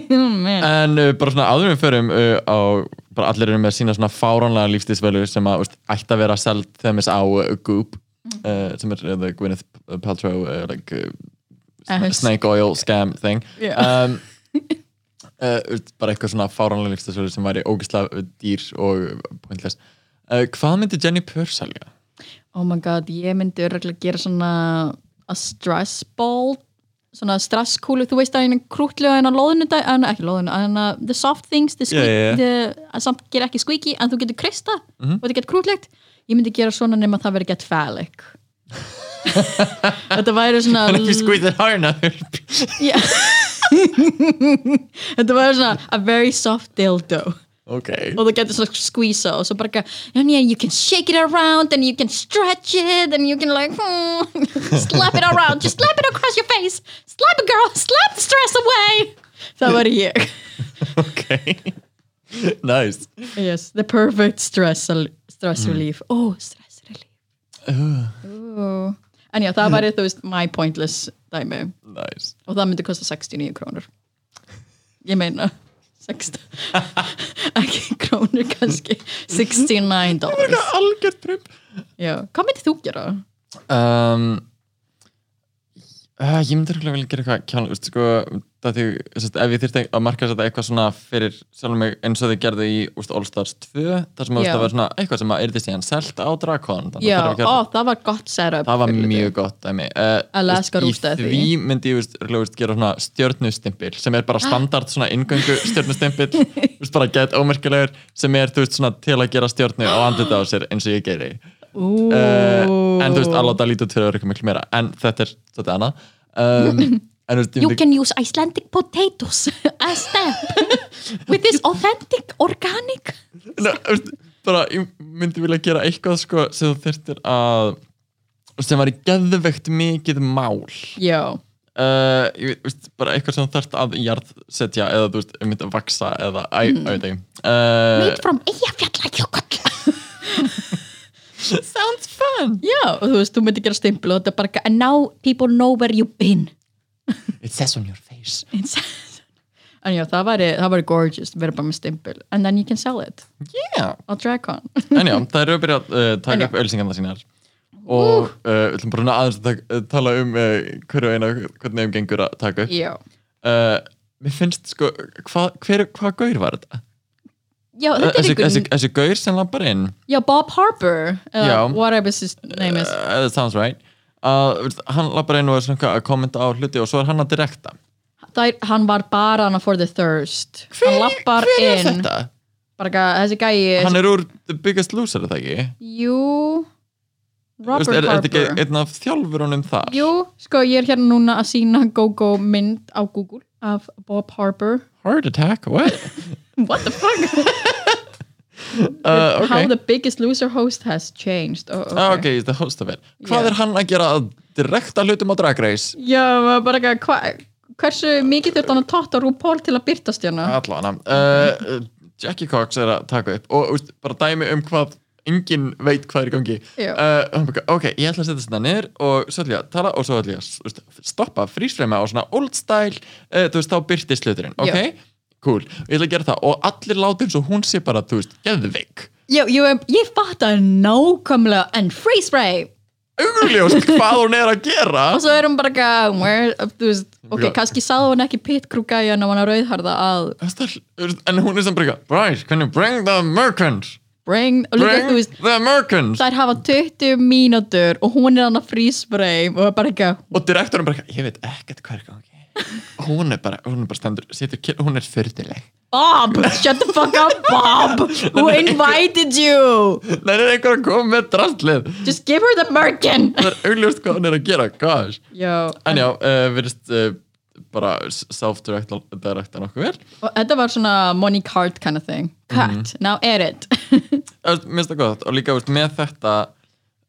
[SPEAKER 2] Man.
[SPEAKER 1] en uh, bara svona áður en við förum uh, á, bara allir eru með sína svona fáránlega lífstísvelu sem að veist, ætti að vera seld þemis á uh, Goop
[SPEAKER 2] Mhm.
[SPEAKER 1] uh, sem er uh, the Gwyneth Paltrow uh, like uh,
[SPEAKER 2] Eh,
[SPEAKER 1] snake oil scam thing
[SPEAKER 2] Yeah.
[SPEAKER 1] um, uh, bara eitthvað svona fáránlega lífstasölu sem væri ógislega dýr og pointless uh, hvað myndi Jenny Purr selja?
[SPEAKER 2] oh my god, ég myndi örgulega gera svona a stress ball svona stresskúlu, þú veist að henni krútlega henni að loðinu, en ekki loðinu en að the soft things, the squeaky
[SPEAKER 1] Já, Mhm. já, já.
[SPEAKER 2] The, að samt gera ekki squeaky, en þú getur krista og þetta getur krútlegt, ég myndi gera svona nema það verið gett phallic þetta væri svona
[SPEAKER 1] en ekki squeeze it hard enough
[SPEAKER 2] Já. þetta væri svona a very soft dildo
[SPEAKER 1] ok
[SPEAKER 2] og þú getur svona skvísa og svo bara eitthvað, "And yeah, you can shake it around and you can stretch it and you can like hmm, slap it around, just slap it across your face slap it girl, slap the stress away það var ég
[SPEAKER 1] ok nice
[SPEAKER 2] yes, the perfect stress, stress relief oh, stress relief Ooh. en já, það væri þú veist my pointless dæmi
[SPEAKER 1] nice
[SPEAKER 2] og það myndi kosta 69 krónur ég meina 16 ekki krónur kannski 69 dollars
[SPEAKER 1] algjört prim
[SPEAKER 2] Já, hvað myndir þú gera?
[SPEAKER 1] um, uh, ég myndi rúglega vilja gera eitthvað kjánlega, veist, sko, það því, sest, ef ég þyrfti að marka þetta eitthvað svona fyrir sjálfum mig eins og þið gerðu í úst, All Stars 2 þar sem að,
[SPEAKER 2] Já.
[SPEAKER 1] veist, það var svona eitthvað sem að yrði síðan selt á Drakon þannig að
[SPEAKER 2] Já,
[SPEAKER 1] þarf að gera-
[SPEAKER 2] ó, það var gott setup
[SPEAKER 1] það var
[SPEAKER 2] fyrir hluti.
[SPEAKER 1] mjög gott dæmi uh,
[SPEAKER 2] Alaska rústaði
[SPEAKER 1] því Í því myndi ég veist, örugglega, veist, gera svona stjörnustimpil sem er
[SPEAKER 2] Ah.
[SPEAKER 1] bara standard svona ingöngu stjörnustimpil veist, bara gett ómerkilegur sem er þú veist svona til að gera stjörnu og andlita á sér eins og ég geri
[SPEAKER 2] Ú.
[SPEAKER 1] uh, en þú veist að láta lítið fyrir öryggum miklu meira en þetta er þetta annað um, en þú veist, ég
[SPEAKER 2] You
[SPEAKER 1] myndi,
[SPEAKER 2] can use Icelandic potatoes as stamp with this authentic organic
[SPEAKER 1] na, veist, bara, ég myndi vilja gera eitthvað sko, sem þú þurftir að sem var í geðveikt mikið mál
[SPEAKER 2] Já,
[SPEAKER 1] uh, ég veit, veist, bara eitthvað sem þarft að jarðsetja eða þú veist, um að vaksa eða, æ, mm. veit ekki
[SPEAKER 2] made
[SPEAKER 1] uh,
[SPEAKER 2] from Eyjafjallajökull
[SPEAKER 1] Sounds fun
[SPEAKER 2] Já, og þú veist, þú myndir gera stimplu og þetta er bara eitthvað, and now people know where you've been
[SPEAKER 1] It says on your face
[SPEAKER 2] It's- En já, það væri, það væri gorgeous vera bara með stimpil, and then you can sell it
[SPEAKER 1] Yeah,
[SPEAKER 2] á Dragon
[SPEAKER 1] en já, það eru að byrja að uh,
[SPEAKER 2] En já.
[SPEAKER 1] taka upp ölsingarna sínar og uh, við ætlum bara aðeins að taka, tala um uh, hverju eina, hvernig þeim gengur að taka upp
[SPEAKER 2] Já,
[SPEAKER 1] uh, Mér finnst sko, hvað hva, hva gaur var þetta? Eh,
[SPEAKER 2] já þetta er
[SPEAKER 1] Þessi, þessi,
[SPEAKER 2] einhvern
[SPEAKER 1] þessi gaur sem lampar inn
[SPEAKER 2] Já, Bob Harper,
[SPEAKER 1] Já.
[SPEAKER 2] uh, whatever his name is
[SPEAKER 1] uh, That sounds right að veist, hann lappar einu og er svona eitthvað að kommenta á hluti og svo er hann að direkta
[SPEAKER 2] Það er, hann var bara hana for the thirst Hann lappar
[SPEAKER 1] hver er
[SPEAKER 2] inn
[SPEAKER 1] þetta?
[SPEAKER 2] bara eitthvað, þessi gæi
[SPEAKER 1] hann er úr The Biggest Loser er það ekki
[SPEAKER 2] Jú Robert
[SPEAKER 1] Veist, er, er þetta
[SPEAKER 2] Harper
[SPEAKER 1] ekki einn af þjálfurunum þar
[SPEAKER 2] Jú, sko ég er hérna núna að sína GoGo mynd á Google af Bob Harper
[SPEAKER 1] heart attack, what?
[SPEAKER 2] What the fuck?
[SPEAKER 1] Uh,
[SPEAKER 2] How
[SPEAKER 1] ok,
[SPEAKER 2] the biggest loser host has changed oh,
[SPEAKER 1] Ah, ok, he's the host of it hvað
[SPEAKER 2] Yeah.
[SPEAKER 1] er hann að gera að direkta hlutum á Drag Race?
[SPEAKER 2] Já, maður bara eitthvað hva, Hversu mikið þurft hann að totta RuPaul til að byrtast hérna?
[SPEAKER 1] allan uh, Jackie Cox er að taka upp og úst, bara dæmi um hvað enginn veit hvað er í gangi
[SPEAKER 2] Já.
[SPEAKER 1] uh, oh my God, ok, ég ætla að setja þetta niður og svo ætla ég að tala og svo ætla ég að úst, stoppa frísfrema á svona old style uh, þú veist, þá byrtist hluturinn, ok?
[SPEAKER 2] Já.
[SPEAKER 1] cool, ég ætla að gera það og allir láti eins og hún sé bara, þú veist, geðvik
[SPEAKER 2] Já, jú, em, ég fatt að nákvæmlega en freeze frame
[SPEAKER 1] augurljós hvað hún er að gera
[SPEAKER 2] og svo er hún bara eitthvað where- uh, þú veist, ok,
[SPEAKER 1] Já.
[SPEAKER 2] kannski sagði hún ekki pitkrúkæjan og hann að rauðharða að
[SPEAKER 1] Þetta er- þú veist, en hún er sem bara eitthvað, right, can you bring the merchants
[SPEAKER 2] bring, og líka
[SPEAKER 1] bring
[SPEAKER 2] þú veist
[SPEAKER 1] the merchants
[SPEAKER 2] þær hafa 20 mínútur og hún er hann að frísbreim og er bara eitthvað
[SPEAKER 1] og direktorinn bara, eitthvað, ég veit ekkert hvað er í gangi hún er bara, hún er bara stendur situr, kyrr, hún er fyrtileg
[SPEAKER 2] Bob, shut the fuck up Bob who invited you
[SPEAKER 1] það er einhver að koma með drastlið
[SPEAKER 2] just give her the merkin
[SPEAKER 1] það er augljóst hvað hún er að gera, gosh
[SPEAKER 2] Já,
[SPEAKER 1] en já, uh, virðist uh, bara self-directa nokkuð vel
[SPEAKER 2] og þetta var svona Monique Hart kind of thing
[SPEAKER 1] Mhm.
[SPEAKER 2] cut, now edit
[SPEAKER 1] Þú veist, mér finnst það gott og líka þú veist, með þetta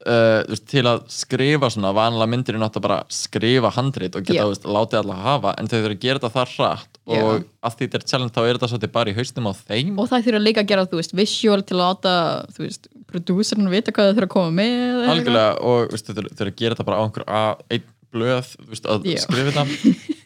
[SPEAKER 1] uh, þú veist, til að skrifa svona vanlega myndir er náttúrulega bara að skrifa handrit og geta
[SPEAKER 2] Já.
[SPEAKER 1] yeah. veist, látið alla hafa en þau þurfa að gera þetta þar hratt
[SPEAKER 2] Já.
[SPEAKER 1] og að því þetta er challenge þá er þetta svolítið bara í haustum á þeim
[SPEAKER 2] og það þurfa líka að gera, þú veist, visual til að láta, þú veist, prodúserinn vita hvað það þurfa að koma með eða eitthvað.
[SPEAKER 1] algjörlega og veist, þau þurfa að gera þetta bara á einhver a, einn blöð þú veist, að
[SPEAKER 2] Já.
[SPEAKER 1] skrifa þetta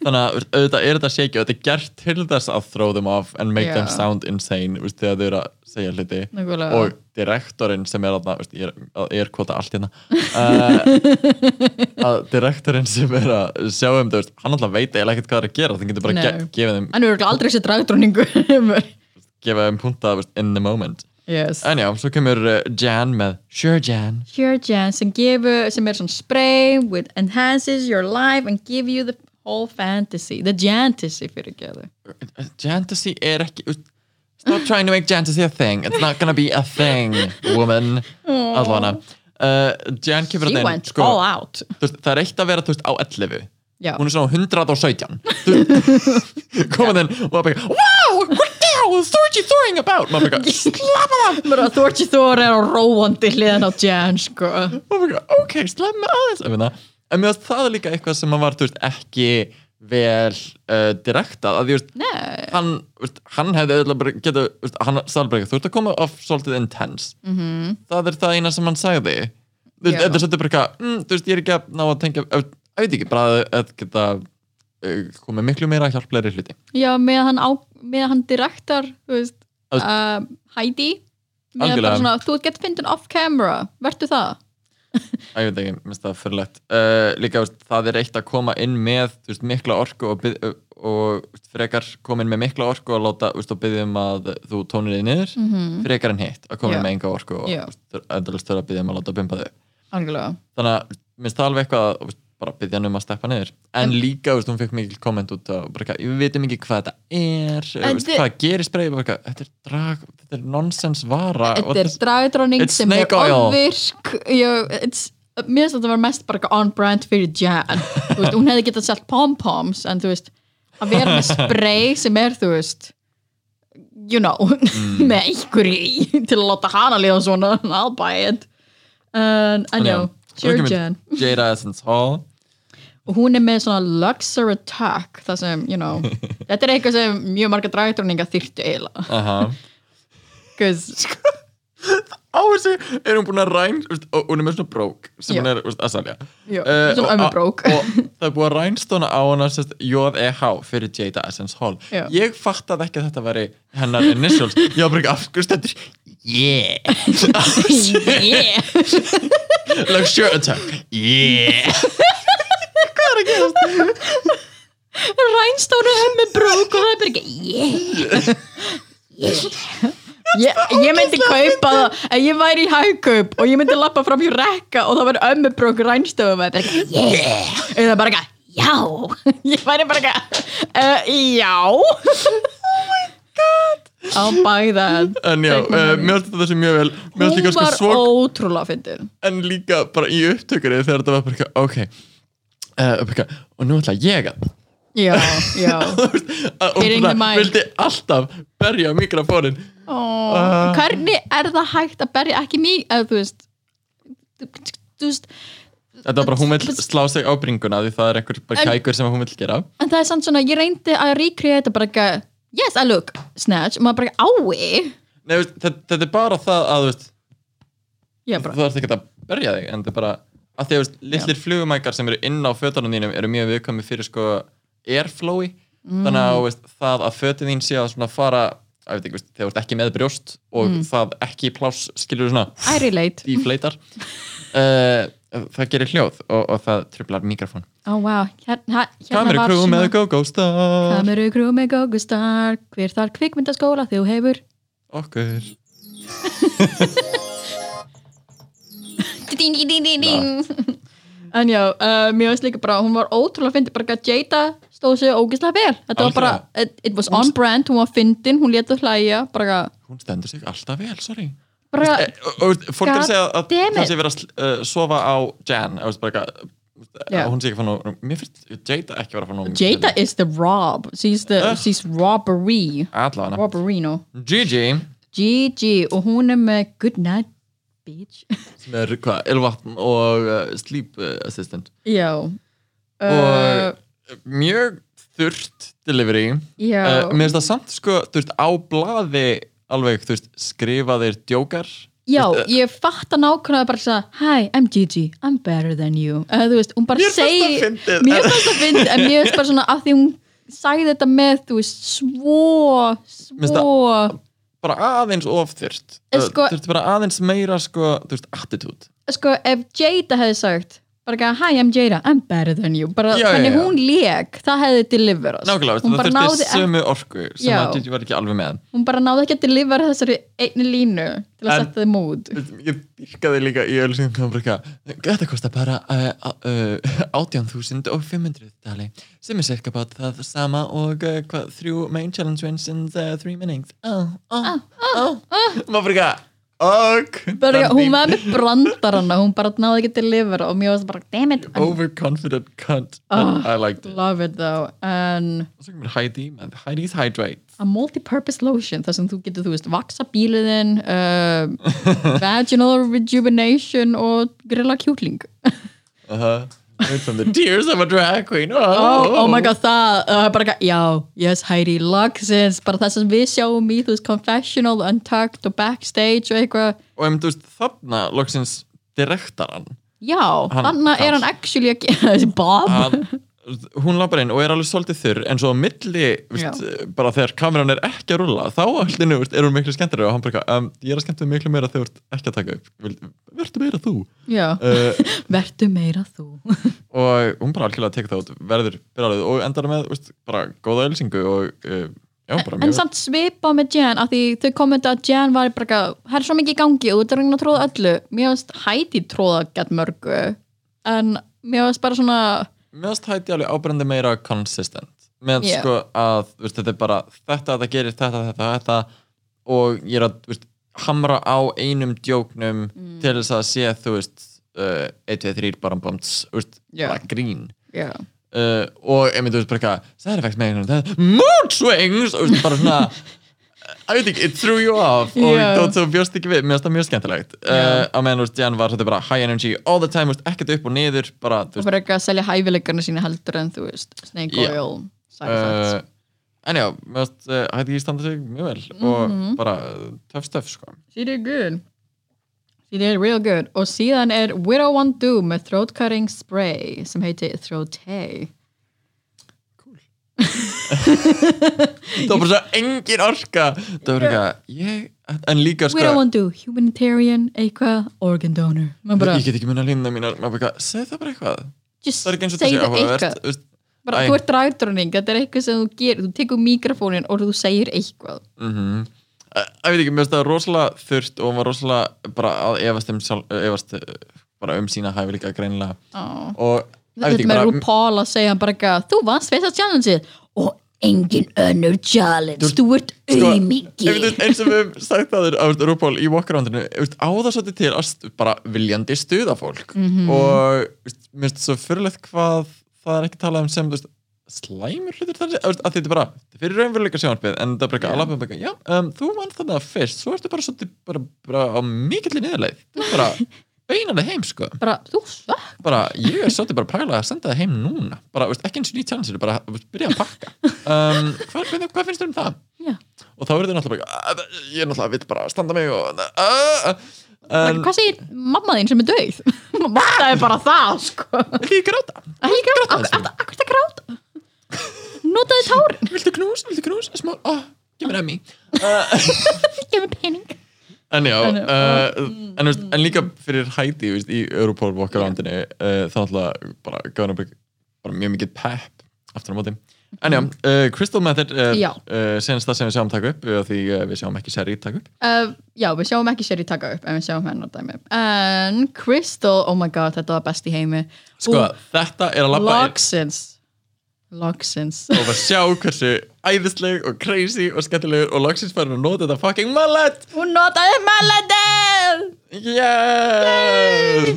[SPEAKER 1] þannig að þú veist, auðvitað er þetta shaky og þetta er gert til þess að throw them off and make
[SPEAKER 2] Já.
[SPEAKER 1] them sound insane þú veist, þegar þau eru að segja hluti
[SPEAKER 2] Nákvæmlega.
[SPEAKER 1] og direktorinn sem er aðna, veist, ég er, að- ég er kvota allt hérna uh, að direktorinn sem er að sjá um það, veist, hann alltaf veit eiginlega ekkert hvað það er að gera, það getur bara
[SPEAKER 2] Nei.
[SPEAKER 1] ge gefið þeim,
[SPEAKER 2] En við erum aldrei þessi dragdróningu
[SPEAKER 1] gefið þeim punta veist, in the moment.
[SPEAKER 2] yes.
[SPEAKER 1] En já, svo kemur uh, Jan með Sure Jan
[SPEAKER 2] Here Jan sem gefur sem er svona spray with enhances your life and give you the whole fantasy the fantasy fyrir geðu
[SPEAKER 1] Jantasy er ekki veist, Stop trying to make Jantasy a thing It's not gonna be a thing, woman Allana uh, Jan kemur
[SPEAKER 2] She
[SPEAKER 1] að
[SPEAKER 2] went all out
[SPEAKER 1] þú veist, það er eitt að vera þú veist, á 11
[SPEAKER 2] Já.
[SPEAKER 1] hún er svona á 117 Þú veist, koma þinn og það bara wow, what the hell is Thorgy throwing about og maður bara, slappa það
[SPEAKER 2] Bara Þorgi Þor er á róandi hliðan á Jan sko
[SPEAKER 1] og maður bara, ok, slappa mig aðeins en, en mér veist það er líka eitthvað sem að var þú veist, ekki vel uh, direktað að því, þú veist,
[SPEAKER 2] Nei,
[SPEAKER 1] hann, þú veist, hann hefði auðvitað bara geta, veist, hann salbreyka, þú ert að koma of svolítið intense, -hmm. það er það eina sem hann sagði, þú veist,
[SPEAKER 2] Mhm. Já.
[SPEAKER 1] þetta er svolítið bara eitthvað, mm, þú veist, ég er ekki að ná að tengja ég veit ekki, bara að- að geta eh, komið miklu meira hjálplegri hluti
[SPEAKER 2] já með hann, á, með hann direktar þú veist
[SPEAKER 1] Að-
[SPEAKER 2] uh, Heidi með
[SPEAKER 1] Algjörlega.
[SPEAKER 2] bara svona, þú gett fyndin off camera verður það?
[SPEAKER 1] að ég veit ekki, minnst það fyrirlegt uh, líka, þú veist, það er eitt að koma inn með þú veist, mikla orku og, bið, og, og þú veist, frekar komin með mikla orku og láta, þú veist, og byggjum að þú tónir þig niður,
[SPEAKER 2] Mhm.
[SPEAKER 1] frekar en hitt að koma
[SPEAKER 2] Já.
[SPEAKER 1] með enga orku og
[SPEAKER 2] Já.
[SPEAKER 1] endalist þurfa að byggjum að láta bumba þau
[SPEAKER 2] Algjörlega
[SPEAKER 1] þannig að minnst það alveg eitthvað að, veist, bara byggja hann um að steppa niður en líka, veist, hún fekk mikil komment út á bara, eitthvað, við veitum ekki hvað þetta er
[SPEAKER 2] En
[SPEAKER 1] veist,
[SPEAKER 2] þi-
[SPEAKER 1] hvað gerir spreið bara, eitthvað, þetta er drag, þetta er nonsens vara og
[SPEAKER 2] Þetta er
[SPEAKER 1] þetta-
[SPEAKER 2] dragdróning
[SPEAKER 1] It's
[SPEAKER 2] sem er
[SPEAKER 1] snake oil.
[SPEAKER 2] ofvirk Jú, it's- Mér finnst að þetta var mest bara eitthvað on brand fyrir Jan Þú veist, Hún hefði getað selt pom-poms en þú veist, að vera með spray sem er, þú veist you know, með einhverju í til að láta hana líða svona I'll buy it en en já,
[SPEAKER 1] Svo
[SPEAKER 2] sure
[SPEAKER 1] kemur
[SPEAKER 2] Jan
[SPEAKER 1] Jada Essence Hall
[SPEAKER 2] og hún er með svona luxury tuck það sem, you know þetta er eitthvað sem mjög marga dragdróninga þyrtu eiginlega
[SPEAKER 1] aha
[SPEAKER 2] because
[SPEAKER 1] á þessu er hún búin að ræn veist, og hún er með svona brók sem
[SPEAKER 2] Já.
[SPEAKER 1] hún er veist, að salja
[SPEAKER 2] Já, svona ömmubrók.
[SPEAKER 1] og það er búið að rænstóna á hana sérst, J.E.H. E fyrir Jada Essence Hall
[SPEAKER 2] Já.
[SPEAKER 1] ég fattaði ekki að þetta væri hennar initials, ég var bara ekki afskurstendur yeah
[SPEAKER 2] yeah
[SPEAKER 1] Luxure attack Yeah
[SPEAKER 2] Rænstár og hemmi brók og það er bara ekki yeah. ég, ég myndi kaupa það ef ég væri í hægkaup og ég myndi lappa fram í rekka og það væri ömmubrók rænstofu með bara eitthvað, yeah eða bara eitthvað, já ég væri bara eitthvað, uh, já oh my god I'll buy that
[SPEAKER 1] En já,
[SPEAKER 2] Take my
[SPEAKER 1] uh,
[SPEAKER 2] money.
[SPEAKER 1] mér ætti þessi mjög vel Mér ætti
[SPEAKER 2] hún
[SPEAKER 1] kannski
[SPEAKER 2] var
[SPEAKER 1] svo
[SPEAKER 2] ótrúlega fyndin
[SPEAKER 1] en líka bara í upptökunni þegar þetta var bara eitthvað, ok uh, bara eitthvað, og nú ætla ég að
[SPEAKER 2] já, já
[SPEAKER 1] Þú veist, að- og
[SPEAKER 2] Hitting the
[SPEAKER 1] bara
[SPEAKER 2] mic.
[SPEAKER 1] vildi alltaf berja mikrofónin
[SPEAKER 2] oh.
[SPEAKER 1] Ah.
[SPEAKER 2] hvernig er það hægt að berja ekki mig eða þú veist þú- þú- þú veist
[SPEAKER 1] þetta var bara hún vill slá sig á bringuna því það er einhver bara
[SPEAKER 2] En-
[SPEAKER 1] kækur sem hún vill gera
[SPEAKER 2] en það er samt svona, ég reyndi að ríkriða þetta bara ekki, yes, I look, snatch og maður bara ái
[SPEAKER 1] Nei, veist, þetta, þetta er bara það að þú veist,
[SPEAKER 2] ég bara,
[SPEAKER 1] þú ert ekki að berja þig en þetta er bara að því að þú veist, litlir flugumækar sem eru inn á fötunum þínum eru mjög viðkvæmi fyrir sko airflowi
[SPEAKER 2] Mm.
[SPEAKER 1] þannig að þú veist, það að fötin þín sé að svona fara að, veit ekki, veist, þegar þú ert ekki með brjóst og
[SPEAKER 2] Mm.
[SPEAKER 1] það ekki í pláss skilur svona
[SPEAKER 2] I relate
[SPEAKER 1] deflatar uh, það gerir hljóð og, og það trublar mikrofón
[SPEAKER 2] oh wow, hérna, hérna
[SPEAKER 1] Kameru
[SPEAKER 2] var
[SPEAKER 1] crew með
[SPEAKER 2] svona
[SPEAKER 1] go-go star
[SPEAKER 2] Kameru krú með gógustar hver þar kvikmyndaskóla þú hefur
[SPEAKER 1] okkur
[SPEAKER 2] ding, ding, ding, ding, ding. en já, uh, mér veist líka bara hún var ótrúlega fyndin, bara að Jada stóð sig ógislega vel, þetta var bara it, it was on brand, hún var fyndin, hún leta hlæja bara,
[SPEAKER 1] hún stendur sig alltaf vel, sorry
[SPEAKER 2] bara
[SPEAKER 1] Eh, og, og fólk er að
[SPEAKER 2] God
[SPEAKER 1] segja að
[SPEAKER 2] damn
[SPEAKER 1] það
[SPEAKER 2] it.
[SPEAKER 1] sé verið að sl- uh, sofa á Jan eða, þú veist, bara eitthvað,
[SPEAKER 2] Já.
[SPEAKER 1] að hún sé ekki að fá nóg mér finnst Jada ekki vera að fá nóg
[SPEAKER 2] Jada is the rob, she's the
[SPEAKER 1] Ugh.
[SPEAKER 2] she's robbery,
[SPEAKER 1] allavega
[SPEAKER 2] robberino
[SPEAKER 1] Gigi
[SPEAKER 2] Gigi og hún er með good night bitch
[SPEAKER 1] sem er hvað, Elvatn og uh, Sleep uh, Assistant
[SPEAKER 2] já uh,
[SPEAKER 1] og mjög þurrt delivery
[SPEAKER 2] já
[SPEAKER 1] uh, mér finnst það samt sko þú veist, á blaði alveg þú veist, skrifaðir djókar
[SPEAKER 2] já, ég fatta nákvæmlega bara þess að hi, I'm Gigi, I'm better than you eða þú veist, hún bara
[SPEAKER 1] Mér fannst það
[SPEAKER 2] segi
[SPEAKER 1] fyndið.
[SPEAKER 2] mér fannst það fyndið, en mér finnst bara svona af því hún sagði þetta með, þú veist, svo
[SPEAKER 1] Mér finnst
[SPEAKER 2] svo,
[SPEAKER 1] bara aðeins of þurrt
[SPEAKER 2] En
[SPEAKER 1] Uh,
[SPEAKER 2] sko-
[SPEAKER 1] þurfti bara aðeins meira sko, þú veist, attitude
[SPEAKER 2] sko ef Jada hefði sagt bara ekki að hi, I'm Jada, I'm better than you bara
[SPEAKER 1] Já, já,
[SPEAKER 2] hvernig
[SPEAKER 1] já.
[SPEAKER 2] hún lék, það hefði deliverast
[SPEAKER 1] nákvæmlega, þú
[SPEAKER 2] hún
[SPEAKER 1] veist,
[SPEAKER 2] bara
[SPEAKER 1] það
[SPEAKER 2] náði
[SPEAKER 1] þurfti
[SPEAKER 2] ekki
[SPEAKER 1] sömu orku sem
[SPEAKER 2] Já.
[SPEAKER 1] að Gigi var ekki alveg með
[SPEAKER 2] hún bara náði ekki að delivera þessari einni línu til að
[SPEAKER 1] En-
[SPEAKER 2] setja þið múð
[SPEAKER 1] ég dyrkaði líka í ölsingum það var eitthvað, þetta kostar bara uh, uh, 18.500 dali, sem er cirka bát það sama og uh, hvað, þrjú main challenge wins in the three minutes oh, oh, oh, oh maður bara eitthvað, ok
[SPEAKER 2] Ah, bara,
[SPEAKER 1] þannig-
[SPEAKER 2] hún var með brandarana hún bara náði ekki að delivera og mér var bara damn it, I
[SPEAKER 1] overconfident cunt
[SPEAKER 2] Ah.
[SPEAKER 1] I liked it
[SPEAKER 2] love it though en
[SPEAKER 1] og svo kemur Heidi, með Heidi's Hydrate
[SPEAKER 2] a multi-purpose lotion þar sem þú getur, þú veist, vaksa bíliðin uh, vaginal rejuvenation og grilla kjúkling
[SPEAKER 1] uh -huh. Made from the tears of a drag queen oh,
[SPEAKER 2] oh, oh my god, það, það er bara eitthvað, já, yes Heidi, logsins, bara það sem við sjáum í, þú veist, confessional, untucked og backstage og eitthvað
[SPEAKER 1] og em, þú veist, þarna loksins direktaran
[SPEAKER 2] Já,
[SPEAKER 1] Hann-
[SPEAKER 2] þannig er
[SPEAKER 1] hann-
[SPEAKER 2] hann actually að gera þessi Bob
[SPEAKER 1] að hún lapar inn og er alveg svolítið þurr en svo á milli, veist, bara þegar kameran er ekki að rúlla, þá allinu veist, er hún miklu skemmtilega og hann bara, eitthvað, um, ég er að skemmtilega miklu meira þegar þú ert ekki að taka upp Vild- vertu meira þú
[SPEAKER 2] Já,
[SPEAKER 1] uh,
[SPEAKER 2] vertu meira þú
[SPEAKER 1] og hún bara algjörlega tekur það út, verður byrjaðið og endar með, veist, bara góða ölsingu og uh, já, bara
[SPEAKER 2] En
[SPEAKER 1] mjög
[SPEAKER 2] samt svipa með Jan af því þau komið að Jan var bara eitthvað, það er svo mikið í gangi og þú ert að reyna að tróða öllu Mér finnst Heidi tróða gett mörgu en mér finnst bara svona
[SPEAKER 1] Mér finnst hætti alveg ábrendi meira consistent með
[SPEAKER 2] Já.
[SPEAKER 1] sko að þú veist, þetta er bara þetta, þetta gerir þetta, þetta, þetta og ég er að þú veist, hamra á einum djóknum
[SPEAKER 2] Mm.
[SPEAKER 1] til þess að sé þú veist uh, 1, 2, 3, bara bóms veist,
[SPEAKER 2] Já.
[SPEAKER 1] bara grín
[SPEAKER 2] Já,
[SPEAKER 1] uh, og einmitt þú veist bara eitthvað side effects með einhvern veginn, mood swings og þú veist, bara svona I think it threw you off og
[SPEAKER 2] Já.
[SPEAKER 1] þú- þú bjóst ekki við, mér finnst það mjög skemmtilegt uh,
[SPEAKER 2] Já.
[SPEAKER 1] á meðan þú veist, Jan var þetta bara high energy all the time, þú veist, ekkert upp og niður bara, þú
[SPEAKER 2] það
[SPEAKER 1] veist,
[SPEAKER 2] var eitthvað að selja hæfileikarna sína heldur en þú veist, snake
[SPEAKER 1] Já.
[SPEAKER 2] oil side
[SPEAKER 1] uh,
[SPEAKER 2] effects.
[SPEAKER 1] en já, mér finnst uh, hætti ekki standa sig mjög vel
[SPEAKER 2] Mhm.
[SPEAKER 1] og bara uh, töff stöf sko
[SPEAKER 2] She did good She did real good og síðan er Widow One Do með throat cutting spray sem heiti Throat Hay
[SPEAKER 1] það var bara svo engin orka það var eitthvað, ég, en líka sko
[SPEAKER 2] Widow One Do, humanitarian, eitthvað organ donor Maður bara,
[SPEAKER 1] ég get ekki munna línuna mínar, maður bara eitthvað, segð það bara eitthvað
[SPEAKER 2] just
[SPEAKER 1] það er ekki eins og
[SPEAKER 2] segðu
[SPEAKER 1] þessi áhugavert
[SPEAKER 2] eitthvað.
[SPEAKER 1] þú veist,
[SPEAKER 2] bara,
[SPEAKER 1] Æ.
[SPEAKER 2] þú ert ræðdröning, þetta er eitthvað sem þú gerir þú tekur mikrofónin og þú segir eitthvað
[SPEAKER 1] mhm. Æ, ég veit ekki, mér finnst það rosalega þurft og hún var rosalega bara að efast um, sjálf, efast eh, bara um sína hæfileika greinilega
[SPEAKER 2] Ó.
[SPEAKER 1] og ég veit
[SPEAKER 2] Þetta
[SPEAKER 1] ekki
[SPEAKER 2] með
[SPEAKER 1] bara,
[SPEAKER 2] RuPaul að segja hann bara ekki að þú vannst fyrsta challengeið og engin önnur challenge, þú ert
[SPEAKER 1] sko,
[SPEAKER 2] auðmiki
[SPEAKER 1] ef þú- eins og við höfum sagt það er að Rúból í walkaroundinu á það svolítið til að st- bara viljandi stuða fólk og þú veist, mér finnst svo fyrirlegt hvað það er ekki talað um sem þú veist, slæmur hlutur þannig að þetta er bara þetta er fyrir raunveruleika sjónarpið en það er bara ekki
[SPEAKER 2] Já.
[SPEAKER 1] alveg bara, já, um, þú mann þannig að fyrst svo ertu bara svolítið bara, bara á mikill niðurleið þú er bara beinaði heim sko
[SPEAKER 2] bara þú svökk
[SPEAKER 1] bara, ég er svolítið bara að pæla að senda það heim núna bara, veist, ekki eins og nýtt challenge bara þú veist, byrja að pakka um, hvað, hvað, hvað finnst þér um það?
[SPEAKER 2] Já.
[SPEAKER 1] og þá verður þið náttúrulega bara, "Ah, ég er náttúrulega vill bara standa mig og, uh,
[SPEAKER 2] Oh
[SPEAKER 1] en
[SPEAKER 2] hvað segir mamma þín sem er döið það er bara það sko
[SPEAKER 1] viltu ég gráta?
[SPEAKER 2] ekki gráta,
[SPEAKER 1] Gráta aðeins.
[SPEAKER 2] akkur það gráta notaði tárin,
[SPEAKER 1] viltu knús? viltu knús? smá, oh, gefur emmi
[SPEAKER 2] gefur pening
[SPEAKER 1] en já,
[SPEAKER 2] En já, ah, mm,
[SPEAKER 1] uh, en, veist, en líka fyrir hæti veist, í Europol walkaroundinu uh, þá náttúrulega bara gaf hann bara mjög mikið pep aftur á móti en já, uh, Crystal Method er
[SPEAKER 2] Mhm. Já.
[SPEAKER 1] uh, senast það sem við sjáum taka upp uh, því uh, við sjáum ekki Sherry taka upp
[SPEAKER 2] uh, já, við sjáum ekki sér í taka upp en við sjáum hennar dæmi en Crystal, oh my god, þetta var best í heimi
[SPEAKER 1] sko, þetta er að labba inn
[SPEAKER 2] Logsins Logsins
[SPEAKER 1] og bara sjá hversu æðisleg og crazy og skemmtilegur og loksins farin að nota þetta fucking mallet
[SPEAKER 2] hún notaði maladið
[SPEAKER 1] yeah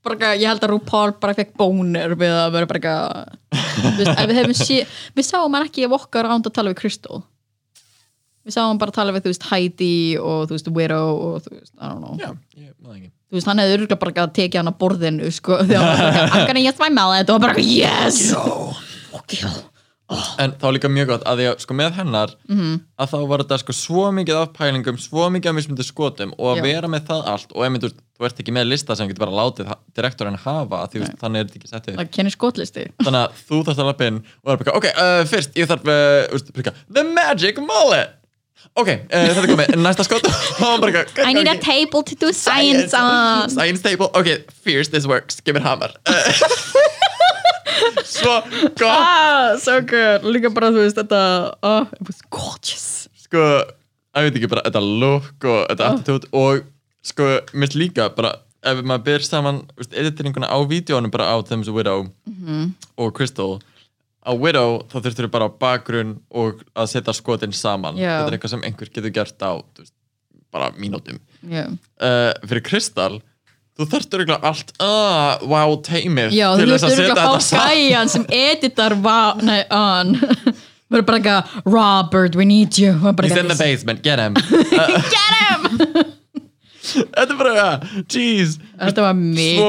[SPEAKER 2] bara, eitthvað- ég held að RuPaul bara fekk bónir við að vera bara eitthvað- Þú veist, en við hefum sé, við sáum hann ekki vokka ránd að tala við Crystal við sáum hann bara tala við þú veist Heidi og þú veist Widow og þú veist, I don't know
[SPEAKER 1] já, ég maður ekki
[SPEAKER 2] þú veist, hann hefði örgulega bara eitthvað tekið hann að borðinu sko, þegar hann var bara eitthvað, I'm gonna yes my mallet og hann bara, eitthvað, yes fuck you
[SPEAKER 1] en þá líka mjög gott að því að sko með hennar
[SPEAKER 2] Mhm.
[SPEAKER 1] að þá var þetta sko svo mikið af pælingum svo mikið af mismundu skotum og að
[SPEAKER 2] Já.
[SPEAKER 1] vera með það allt og einmitt þú veist, þú ert ekki með lista sem getur bara látið ha- direktorinn hafa því þú veist, þannig er þetta ekki settið
[SPEAKER 2] það kennir skotlisti
[SPEAKER 1] þannig að þú þarfst að lappa inn og það er bara ok, uh, fyrst ég þarf uh, úst, prika, the magic mullet ok, uh, þetta er komið, næsta skot og hann bara ok,
[SPEAKER 2] I need a
[SPEAKER 1] ok,
[SPEAKER 2] table to do science on
[SPEAKER 1] science table, ok, fierce this works give it hammer uh, svo sko, gott
[SPEAKER 2] ah, so good, líka bara þú veist þetta, oh, it was gorgeous
[SPEAKER 1] sko, ég veit ekki bara þetta look og
[SPEAKER 2] Ah.
[SPEAKER 1] þetta attitude og sko, minnst líka bara ef maður ber saman veist, editeringuna á vídjónu bara á þeim sem Widow
[SPEAKER 2] Mhm.
[SPEAKER 1] og Crystal á Widow þá þurftur við bara á bakgrunn og að setja skotin saman
[SPEAKER 2] Já.
[SPEAKER 1] þetta er eitthvað sem einhver getur gert á þú veist, bara mínútum
[SPEAKER 2] yeah.
[SPEAKER 1] uh, fyrir Crystal þú þarftur eitthvað allt uh, wow teimið
[SPEAKER 2] Já, þú
[SPEAKER 1] til þess
[SPEAKER 2] veist,
[SPEAKER 1] að
[SPEAKER 2] þú
[SPEAKER 1] setja
[SPEAKER 2] eru
[SPEAKER 1] þetta
[SPEAKER 2] að fá
[SPEAKER 1] saman
[SPEAKER 2] gæjan sem editar va- nei, on verður bara eitthvað, Robert, we need you Og bara
[SPEAKER 1] he's in the
[SPEAKER 2] eitthvað,
[SPEAKER 1] basement, get him
[SPEAKER 2] get him
[SPEAKER 1] þetta er bara, jeez
[SPEAKER 2] þetta var
[SPEAKER 1] svo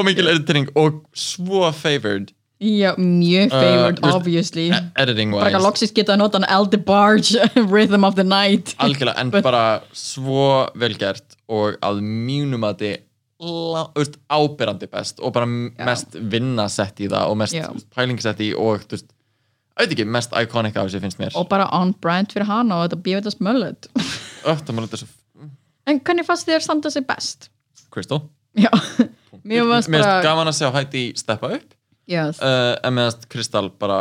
[SPEAKER 2] mjög,
[SPEAKER 1] mikil editering og svo favored
[SPEAKER 2] já, mjög favored,
[SPEAKER 1] Uh, þú veist,
[SPEAKER 2] obviously
[SPEAKER 1] e- editing
[SPEAKER 2] bara eitthvað,
[SPEAKER 1] wise
[SPEAKER 2] loksist geta að nota hann El DeBarge, Rhythm of the Night
[SPEAKER 1] algjörlega en bara svo velgert og að mínum að þið veist, ábyrrandi best og bara
[SPEAKER 2] Já.
[SPEAKER 1] mest vinna sett í það og mest
[SPEAKER 2] Já.
[SPEAKER 1] pæling sett í og þú veist, ég veit ekki, mest iconic af þessu finnst mér
[SPEAKER 2] og bara on brand fyrir hana og þetta bjöðast mullet
[SPEAKER 1] öftum að leta svo
[SPEAKER 2] en hvernig fannst þér standa sig best?
[SPEAKER 1] Crystal
[SPEAKER 2] já, mér fannst
[SPEAKER 1] mér finnst
[SPEAKER 2] bara
[SPEAKER 1] gaman að sjá hætti steppa upp
[SPEAKER 2] yes.
[SPEAKER 1] uh, en meðanst Kristall bara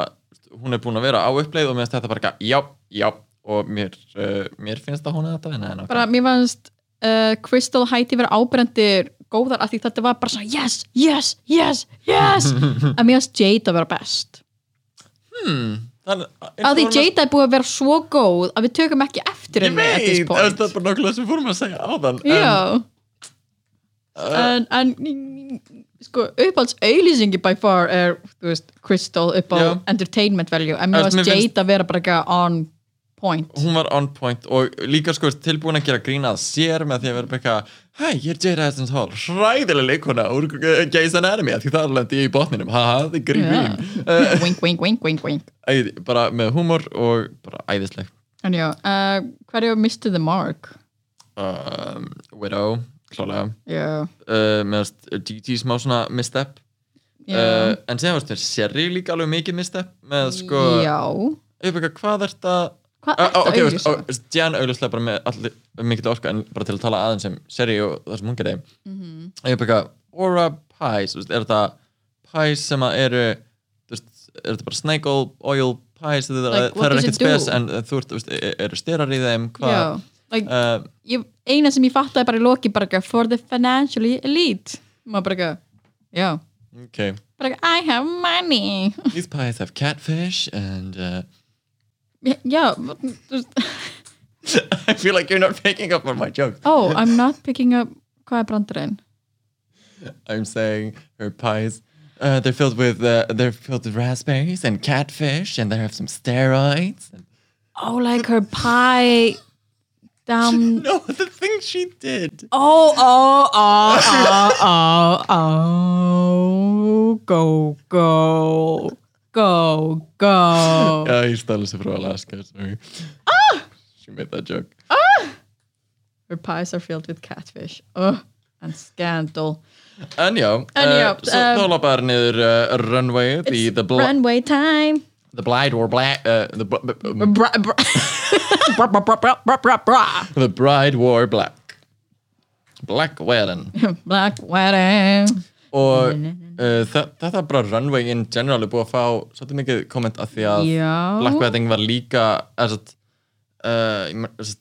[SPEAKER 1] hún er búin að vera á uppleið og meðanst þetta bara ekki, já, já og mér, uh, mér finnst að hún er þetta vinna henni
[SPEAKER 2] bara mér fannst uh, Crystal Heidi vera ábrendir góðar af því þetta var bara svona yes, yes, yes, yes að mér fannst Jade að vera best að því Jade er búið að vera svo góð að við tökum ekki eftir
[SPEAKER 1] Ég
[SPEAKER 2] henni at this
[SPEAKER 1] veit, það er
[SPEAKER 2] point
[SPEAKER 1] bara nákvæmlega sem við fórum að segja áðan
[SPEAKER 2] já
[SPEAKER 1] Uh.
[SPEAKER 2] en, en sko uppáhalds auðlýsingi by far er þú veist, Crystal upp á
[SPEAKER 1] Já.
[SPEAKER 2] entertainment value en mér
[SPEAKER 1] Ert- mér
[SPEAKER 2] fannst
[SPEAKER 1] finnst-
[SPEAKER 2] Jade að vera bara eitthvað on point
[SPEAKER 1] En hún var on point og líka sko tilbúin að gera grínað sér með því að vera bara eitthvað Hæ, ég er Jade Essence Hall, hræðilega leikona úr uh, Gays Anatomy af því það lendi ég í botninum, haha, þið grín
[SPEAKER 2] Já.
[SPEAKER 1] yeah.
[SPEAKER 2] wink, wink, wink, wink, wink
[SPEAKER 1] uh, Bara með húmor og bara æðisleg
[SPEAKER 2] en já, uh, hverju mistu the mark?
[SPEAKER 1] um, Widow, klálega
[SPEAKER 2] já,
[SPEAKER 1] uh, meðast DT smá svona misstep
[SPEAKER 2] já
[SPEAKER 1] uh, en sem varst mér Sherry líka alveg mikið misstep með sko,
[SPEAKER 2] já,
[SPEAKER 1] auðvitað hvað ert að
[SPEAKER 2] hvað er
[SPEAKER 1] Á, á,
[SPEAKER 2] þetta
[SPEAKER 1] ok,
[SPEAKER 2] okay,
[SPEAKER 1] veist, á, veist, Jan auðvitað bara með allir mikið orku en bara til að tala aðeins um Sherry og það sem hún gerði
[SPEAKER 2] Mhm.
[SPEAKER 1] auðvitað bara Aura Pies, veist, er þetta Pies sem að eru þú veist, er þetta bara snake oil, oil pies það,
[SPEAKER 2] Like,
[SPEAKER 1] það
[SPEAKER 2] what
[SPEAKER 1] er
[SPEAKER 2] does
[SPEAKER 1] ekkert
[SPEAKER 2] it do?
[SPEAKER 1] spes en þú ert, þú veist, e- eru styrar í þeim hvað
[SPEAKER 2] Já, like,
[SPEAKER 1] uh,
[SPEAKER 2] ég, eina sem ég fattaði bara í loki bara eitthvað, for the financially elite maður bara eitthvað, já
[SPEAKER 1] Uh, ok,
[SPEAKER 2] bara eitthvað, I have money
[SPEAKER 1] these pies have catfish and uh,
[SPEAKER 2] já, þú veist,
[SPEAKER 1] I feel like you're not picking up on my joke
[SPEAKER 2] oh, I'm not picking up hvað er brandurinn?
[SPEAKER 1] I'm saying her pies. Uh, they're filled with uh, they're filled with raspberries and catfish, and they have some steroids.
[SPEAKER 2] oh, like her pie down
[SPEAKER 1] No, the thing she did.
[SPEAKER 2] oh, oh, oh, oh, oh, oh go, go go, go
[SPEAKER 1] Oh, you stole it from Alaska. Sorry. Ah! She made that joke.
[SPEAKER 2] her pies are filled with catfish oh, and scandal
[SPEAKER 1] En já,
[SPEAKER 2] En
[SPEAKER 1] eh,
[SPEAKER 2] já,
[SPEAKER 1] svo
[SPEAKER 2] eh,
[SPEAKER 1] þá lapar niður uh, runwayið í the, bl
[SPEAKER 2] runway time
[SPEAKER 1] the Blind or Black uh, the, bl- b- um,
[SPEAKER 2] Bra, bra. bra, bra, bra, bra, bra, bra, bra.
[SPEAKER 1] the Bride War Black Black Wedding
[SPEAKER 2] Black wedding
[SPEAKER 1] og uh, þa- þetta bara runway in general er búið að fá svolítið mikið komment að því að
[SPEAKER 2] Já.
[SPEAKER 1] Uh, Black Wedding var líka er satt, uh, ég man- er satt,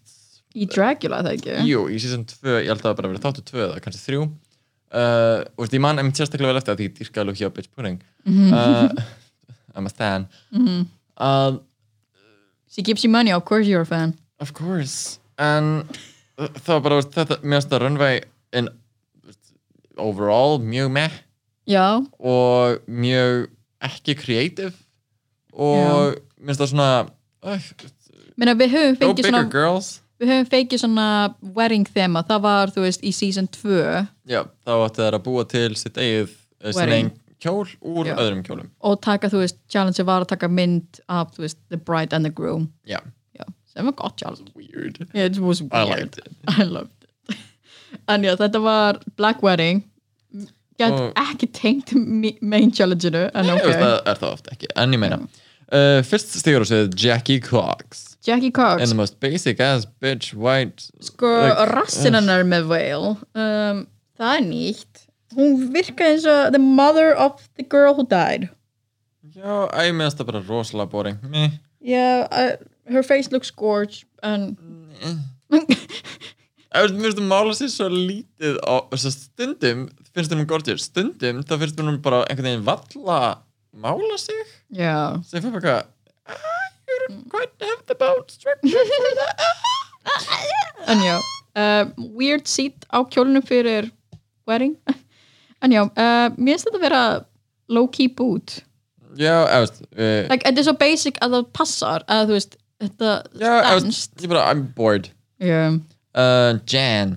[SPEAKER 2] Í Dracula það ekki
[SPEAKER 1] jú, í season 2 ég held að það hafi bara verið þáttu 2 eða kannski 3 uh, og veist, ég man einmitt sérstaklega vel eftir að því dýrkaði lúk hjá Bitch Pudding uh, I'm a stan að
[SPEAKER 2] She gives you money, of course you're a fan
[SPEAKER 1] Of course En uh, það var bara, veist, þetta, mér finnst það runway in veist, overall mjög meh
[SPEAKER 2] Já,
[SPEAKER 1] og mjög ekki creative og mér finnst það svona uh,
[SPEAKER 2] menna við höfum
[SPEAKER 1] Go
[SPEAKER 2] fengið
[SPEAKER 1] bigger
[SPEAKER 2] svona
[SPEAKER 1] girls
[SPEAKER 2] við höfum fengið svona wedding þema, það var, þú veist, í season 2
[SPEAKER 1] Já, þá átti þær að búa til sitt eigið eh, sinn
[SPEAKER 2] Wedding.
[SPEAKER 1] eigin kjól úr
[SPEAKER 2] Já.
[SPEAKER 1] öðrum kjólum
[SPEAKER 2] og taka, þú veist, challenge var að taka mynd af, þú veist, the bride and the groom
[SPEAKER 1] Já,
[SPEAKER 2] Já, sem var gott challenge
[SPEAKER 1] weird
[SPEAKER 2] yeah, It was
[SPEAKER 1] I
[SPEAKER 2] weird
[SPEAKER 1] liked it
[SPEAKER 2] I loved it En já, þetta var Black Wedding Gæt
[SPEAKER 1] Og-
[SPEAKER 2] ekki tengt mi- main challenge-inu En
[SPEAKER 1] okay.
[SPEAKER 2] ok,
[SPEAKER 1] Það er það oft ekki, en ég meina uh, Fyrst stígur á sig Jackie Cox
[SPEAKER 2] Jackie Cox
[SPEAKER 1] And the most basic ass bitch white
[SPEAKER 2] Sko,
[SPEAKER 1] Like, eh.
[SPEAKER 2] rassinn hennar með Whale um, Það er nýtt Hún virkaði eins og the mother of the girl who died
[SPEAKER 1] Já, æ, mér finnst það bara rosalega boring Meh
[SPEAKER 2] Yeah, I, her face looks gorge and...
[SPEAKER 1] Mm, eh. Ef þú finnst að mála sér svo lítið á, þess að stundum finnst þeim gorgeous, stundum þá finnst mér hún bara einhvern veginn valla mála sig
[SPEAKER 2] Já
[SPEAKER 1] sem fyrir bara eitthvað "Ah, you
[SPEAKER 2] Mm.
[SPEAKER 1] don't quite have the bone structure for that
[SPEAKER 2] En já, uh, weird seat á kjólunum fyrir wedding En já, uh, mér finnst þetta vera low-key boot
[SPEAKER 1] Já, ef þú veist uh,
[SPEAKER 2] Like, þetta er svo basic að það passar að þú veist, þetta
[SPEAKER 1] Já, ef þú
[SPEAKER 2] stannst
[SPEAKER 1] veist, ég bara, I'm bored
[SPEAKER 2] yeah.
[SPEAKER 1] uh, Jan,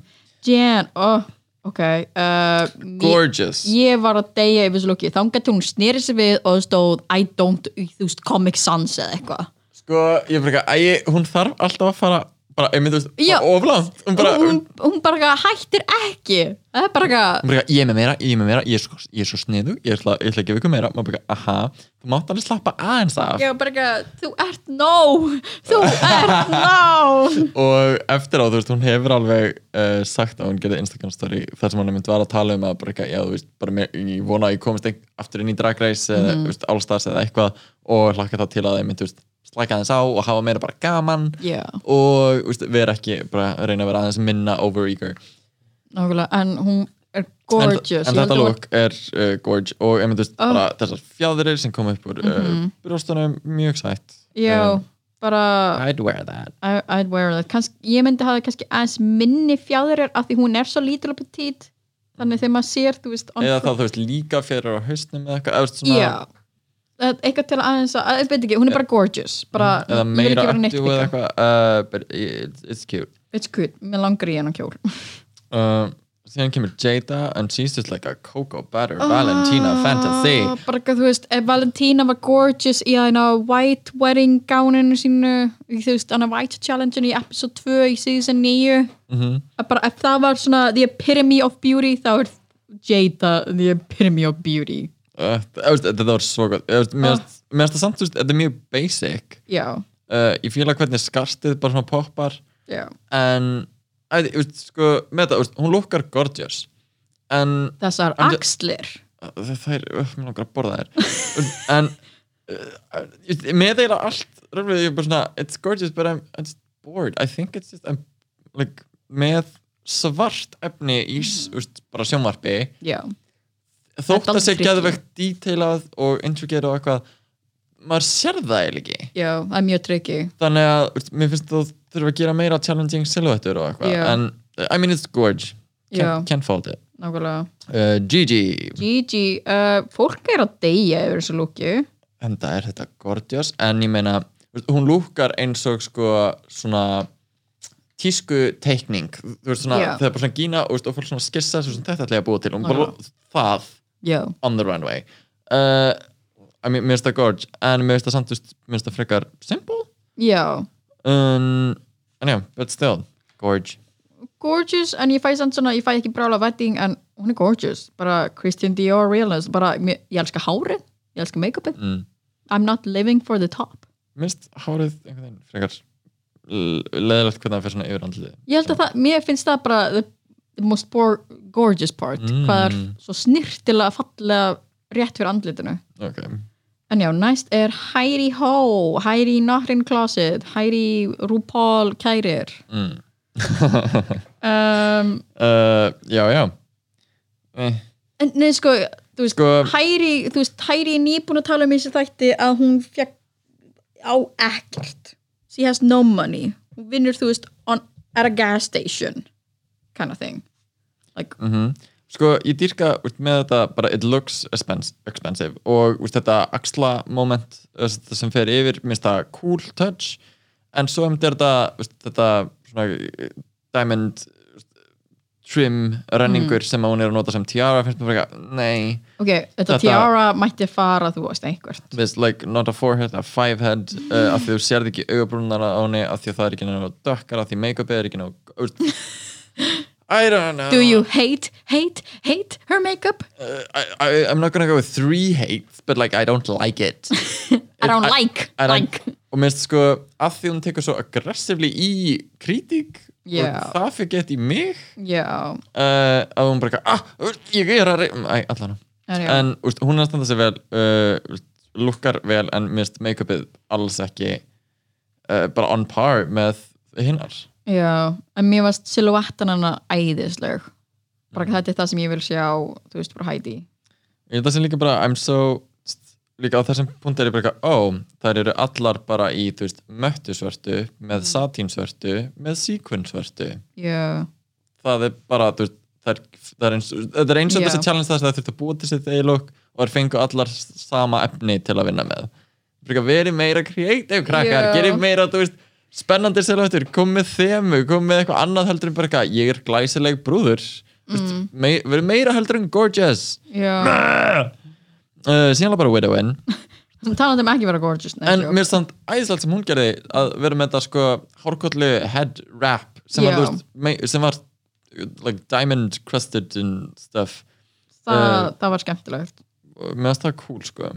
[SPEAKER 2] Jan, oh, ok uh, mér-
[SPEAKER 1] gorgeous
[SPEAKER 2] ég var að deyja yfir þessu lukki þangat hún sneri sig við og stóð I don't, þú veist, Comic Sans eða eitthvað
[SPEAKER 1] Sko, ég bara, eitthvað, æ, hún þarf alltaf að fara bara, einmitt, þú
[SPEAKER 2] Já.
[SPEAKER 1] veist, oflant Hún bara,
[SPEAKER 2] hún, hún bara eitthvað hættir ekki það er bara eitthvað
[SPEAKER 1] Hún bara, ég er með meira, ég er með meira, ég er svo, ég er svo sniðu, ég ætla, ég ætla að gefa ykkur meira. Maður bara, aha, þú mátt alveg slappa aðeins af.
[SPEAKER 2] Já, bara eitthvað, þú ert nóg þú ert nóg
[SPEAKER 1] Og eftir á, þú veist, hún hefur alveg uh, sagt að hún gerði Instagram story þar sem hann mynd var að tala um að bara, eitthvað, já, þú veist, bara mér, ég vona að ég komist ekki aftur inn í Drag Race eða,
[SPEAKER 2] Mhm.
[SPEAKER 1] þú veist, Allstars eða eitthvað og hlakka þá til að þeim, þú veist, slaka aðeins á og hafa meira bara gaman
[SPEAKER 2] Já,
[SPEAKER 1] og, þú veist, vera ekki, bara reyna að vera aðeins minna overeager.
[SPEAKER 2] nákvæmlega, en hún er
[SPEAKER 1] En-
[SPEAKER 2] gorgeous
[SPEAKER 1] En
[SPEAKER 2] Ég
[SPEAKER 1] þetta
[SPEAKER 2] held að-
[SPEAKER 1] look er uh, gorge og emitt, veist,
[SPEAKER 2] Oh. Mhm.
[SPEAKER 1] bara þessar fjadrir sem kom upp úr uh, brjóstunum, mjög sætt
[SPEAKER 2] Já,
[SPEAKER 1] Um,
[SPEAKER 2] bara
[SPEAKER 1] I'd wear that
[SPEAKER 2] I, I'd wear that Kans, ég myndi hafa kannski aðeins minni fjæðurir af því hún er svo lítil og petit þannig þegar maður sér, þú veist on
[SPEAKER 1] eða þá þú veist líka fjadrir á hausnum eða eitthvað, eða, þú veist, svona,
[SPEAKER 2] Já Það- eitthvað til að aðeins að, að- ég veit ekki, hún er bara gorgeous bara,
[SPEAKER 1] eða
[SPEAKER 2] ég vil
[SPEAKER 1] meira
[SPEAKER 2] ekki vera neitt
[SPEAKER 1] aktu
[SPEAKER 2] pika
[SPEAKER 1] eða eitthvað uh, but it's, it's cute
[SPEAKER 2] it's good, mér langar í hennar kjól
[SPEAKER 1] uh, síðan kemur Jada and she's just like a cocoa butter Valentina Ah, fantasy
[SPEAKER 2] Ah, bara eitthvað, þú veist, ef Valentina var gorgeous í að hérna white wedding gáninu sínu, í, þú veist, hana white challenge-inu í episode 2 í season 9
[SPEAKER 1] mm
[SPEAKER 2] að bara ef það var svona the epitome of beauty, þá er Jada the epitome of beauty
[SPEAKER 1] uh, það- þú veist, þetta var svo gott Eða, þú veist, mér
[SPEAKER 2] Ah.
[SPEAKER 1] finnst- mér finnst það samt, þú veist, þetta er mjög basic
[SPEAKER 2] já,
[SPEAKER 1] uh, ég fíla hvernig skartið bara svona poppar
[SPEAKER 2] já,
[SPEAKER 1] en að, veist, sko, með það, veist, hún lukkar gorgeous en
[SPEAKER 2] þessar
[SPEAKER 1] En-
[SPEAKER 2] axlir
[SPEAKER 1] uh, það er, mér langar að borða þær en uh, með þeirra allt röfnir, ég er bara svona, it's gorgeous but I'm, I'm just bored, I think it's just I'm, like, með svart efni í mm bara sjónvarpi
[SPEAKER 2] já,
[SPEAKER 1] þótt
[SPEAKER 2] Það er
[SPEAKER 1] að sé
[SPEAKER 2] dálítið tricky.
[SPEAKER 1] geðvegt detailað og intricate og eitthvað maður sér það eiginlega ekki
[SPEAKER 2] já, það er mjög tryggi
[SPEAKER 1] þannig að úrst, mér finnst þú þurfa að gera meira challenging silhouettur og eitthvað
[SPEAKER 2] Já.
[SPEAKER 1] en uh, I mean it's gorge
[SPEAKER 2] Já.
[SPEAKER 1] can't, can't fault it
[SPEAKER 2] nákvæmlega
[SPEAKER 1] uh, Gigi,
[SPEAKER 2] Gigi, uh, fólk er að deyja yfir þessu lúki
[SPEAKER 1] en það er þetta gorgeous en ég meina, úrst, hún lúkar eins og sko svona tísku teikning þú veist svona,
[SPEAKER 2] Já.
[SPEAKER 1] það er bara svona gína úrst, og fólk svona skissa þessu svona þetta ætla ég að búa til og bara það
[SPEAKER 2] já,
[SPEAKER 1] on the runway uh, I mean, mér finnst það gorge en mér finnst það samt, þú veist, mér finnst það frekar simple
[SPEAKER 2] já
[SPEAKER 1] um, en já, but still gorge
[SPEAKER 2] gorgeous en ég fæ samt svona, ég fæ ekki brála vetting en hún er gorgeous, bara Christian Dior realness, bara mér, ég elska hárið ég elska make-upið,
[SPEAKER 1] mm.
[SPEAKER 2] I'm not living for the top
[SPEAKER 1] minnst hárið einhvern veginn frekar l- leðilegt hvernig það fyrir svona yfir andlið
[SPEAKER 2] ég held að það, mér finnst það bara the, the most bor- gorgeous part
[SPEAKER 1] Mm.
[SPEAKER 2] hvað er svo snirtilega fallega rétt fyrir andlitinu
[SPEAKER 1] ok,
[SPEAKER 2] en já, næst er Heidi Ho Heidi Nahrin Closet Heidi RuPaul Kærir
[SPEAKER 1] mm.
[SPEAKER 2] um,
[SPEAKER 1] uh, já, já eh,
[SPEAKER 2] en nei, sko, þú veist
[SPEAKER 1] sko,
[SPEAKER 2] Hæri, þú veist, Hæri er nýbúin að tala um í þessu þætti að hún fekk á ekkert she has no money, hún vinnur þú veist on, at a gas station kind of thing like,
[SPEAKER 1] mm sko, ég dýrka úst, með þetta bara it looks expens- expensive og úst, þetta axla moment eh, þetta sem fer yfir, minnst það cool touch en svo um þetta úst, þetta svona eh, diamond úst, trim renningur
[SPEAKER 2] Mm.
[SPEAKER 1] sem að hún er að nota sem tiara finnst mér frekar, nei
[SPEAKER 2] ok, þetta
[SPEAKER 1] Þetta-
[SPEAKER 2] tiara mætti fara þú veist einhvert
[SPEAKER 1] There's like not a forehead, a five head uh, af því þú sérð ekki augabrúnar á henni af því að það er ekki náttúrulega dökkar af því make-upið er ekki náttúrulega I don't know
[SPEAKER 2] do you hate, hate, hate her makeup?
[SPEAKER 1] Uh, I, I, I'm not gonna go with three hates but like I don't like it
[SPEAKER 2] I don't
[SPEAKER 1] I-
[SPEAKER 2] like,
[SPEAKER 1] I don't-
[SPEAKER 2] like
[SPEAKER 1] og minnst sko af því hún tekur svo aggressively í kritík
[SPEAKER 2] Já.
[SPEAKER 1] og það fyrir gett í mig
[SPEAKER 2] já,
[SPEAKER 1] uh, að hún bara eitthvað, ah, uh, ég er að reyna Æ, allan á
[SPEAKER 2] en já,
[SPEAKER 1] en úst, hún er að standa sig vel uh, lukkar vel en mist make-upið alls ekki uh, bara on par með hinnar
[SPEAKER 2] já en mér varst silhouettan hana æðisleg
[SPEAKER 1] Mm.
[SPEAKER 2] bara þetta er það sem ég vil sjá þú veist, bara Heidi
[SPEAKER 1] ég held að sem líka bara I'm so líka á þessum punkt er ég bara eitthvað, ó, þær eru allar bara í þú veist, möttusvörtu
[SPEAKER 2] Mm.
[SPEAKER 1] með satínsvörtu, með síkvinsvörtu
[SPEAKER 2] já, það
[SPEAKER 1] það er bara, þú veist það er, það er eins, það er eins og
[SPEAKER 2] Já.
[SPEAKER 1] þessi challenge þess að það þurfti að búa til sitt eigilokk og þær fengu allar sama efni til að vinna með Brygga, veri meira creative krakkar,
[SPEAKER 2] Já.
[SPEAKER 1] gerir meira, þú veist spennandi selvöttur, kom með þemu kom með eitthvað annað heldur en bara eitthvað, ég er glæsileg brúður mm. me, veri meira heldur en gorgeous
[SPEAKER 2] já,
[SPEAKER 1] uh, síðanlega bara Widowin
[SPEAKER 2] talandi um ekki vera gorgeous nei,
[SPEAKER 1] en
[SPEAKER 2] joke.
[SPEAKER 1] mér er samt æðislegt sem hún gerði að vera með þetta sko hárkollu head wrap sem, var,
[SPEAKER 2] Já.
[SPEAKER 1] þú veist, mei, sem var uh, like diamond crusted and stuff
[SPEAKER 2] það,
[SPEAKER 1] Eh.
[SPEAKER 2] það var skemmtilegt
[SPEAKER 1] Og mér finnst það cool sko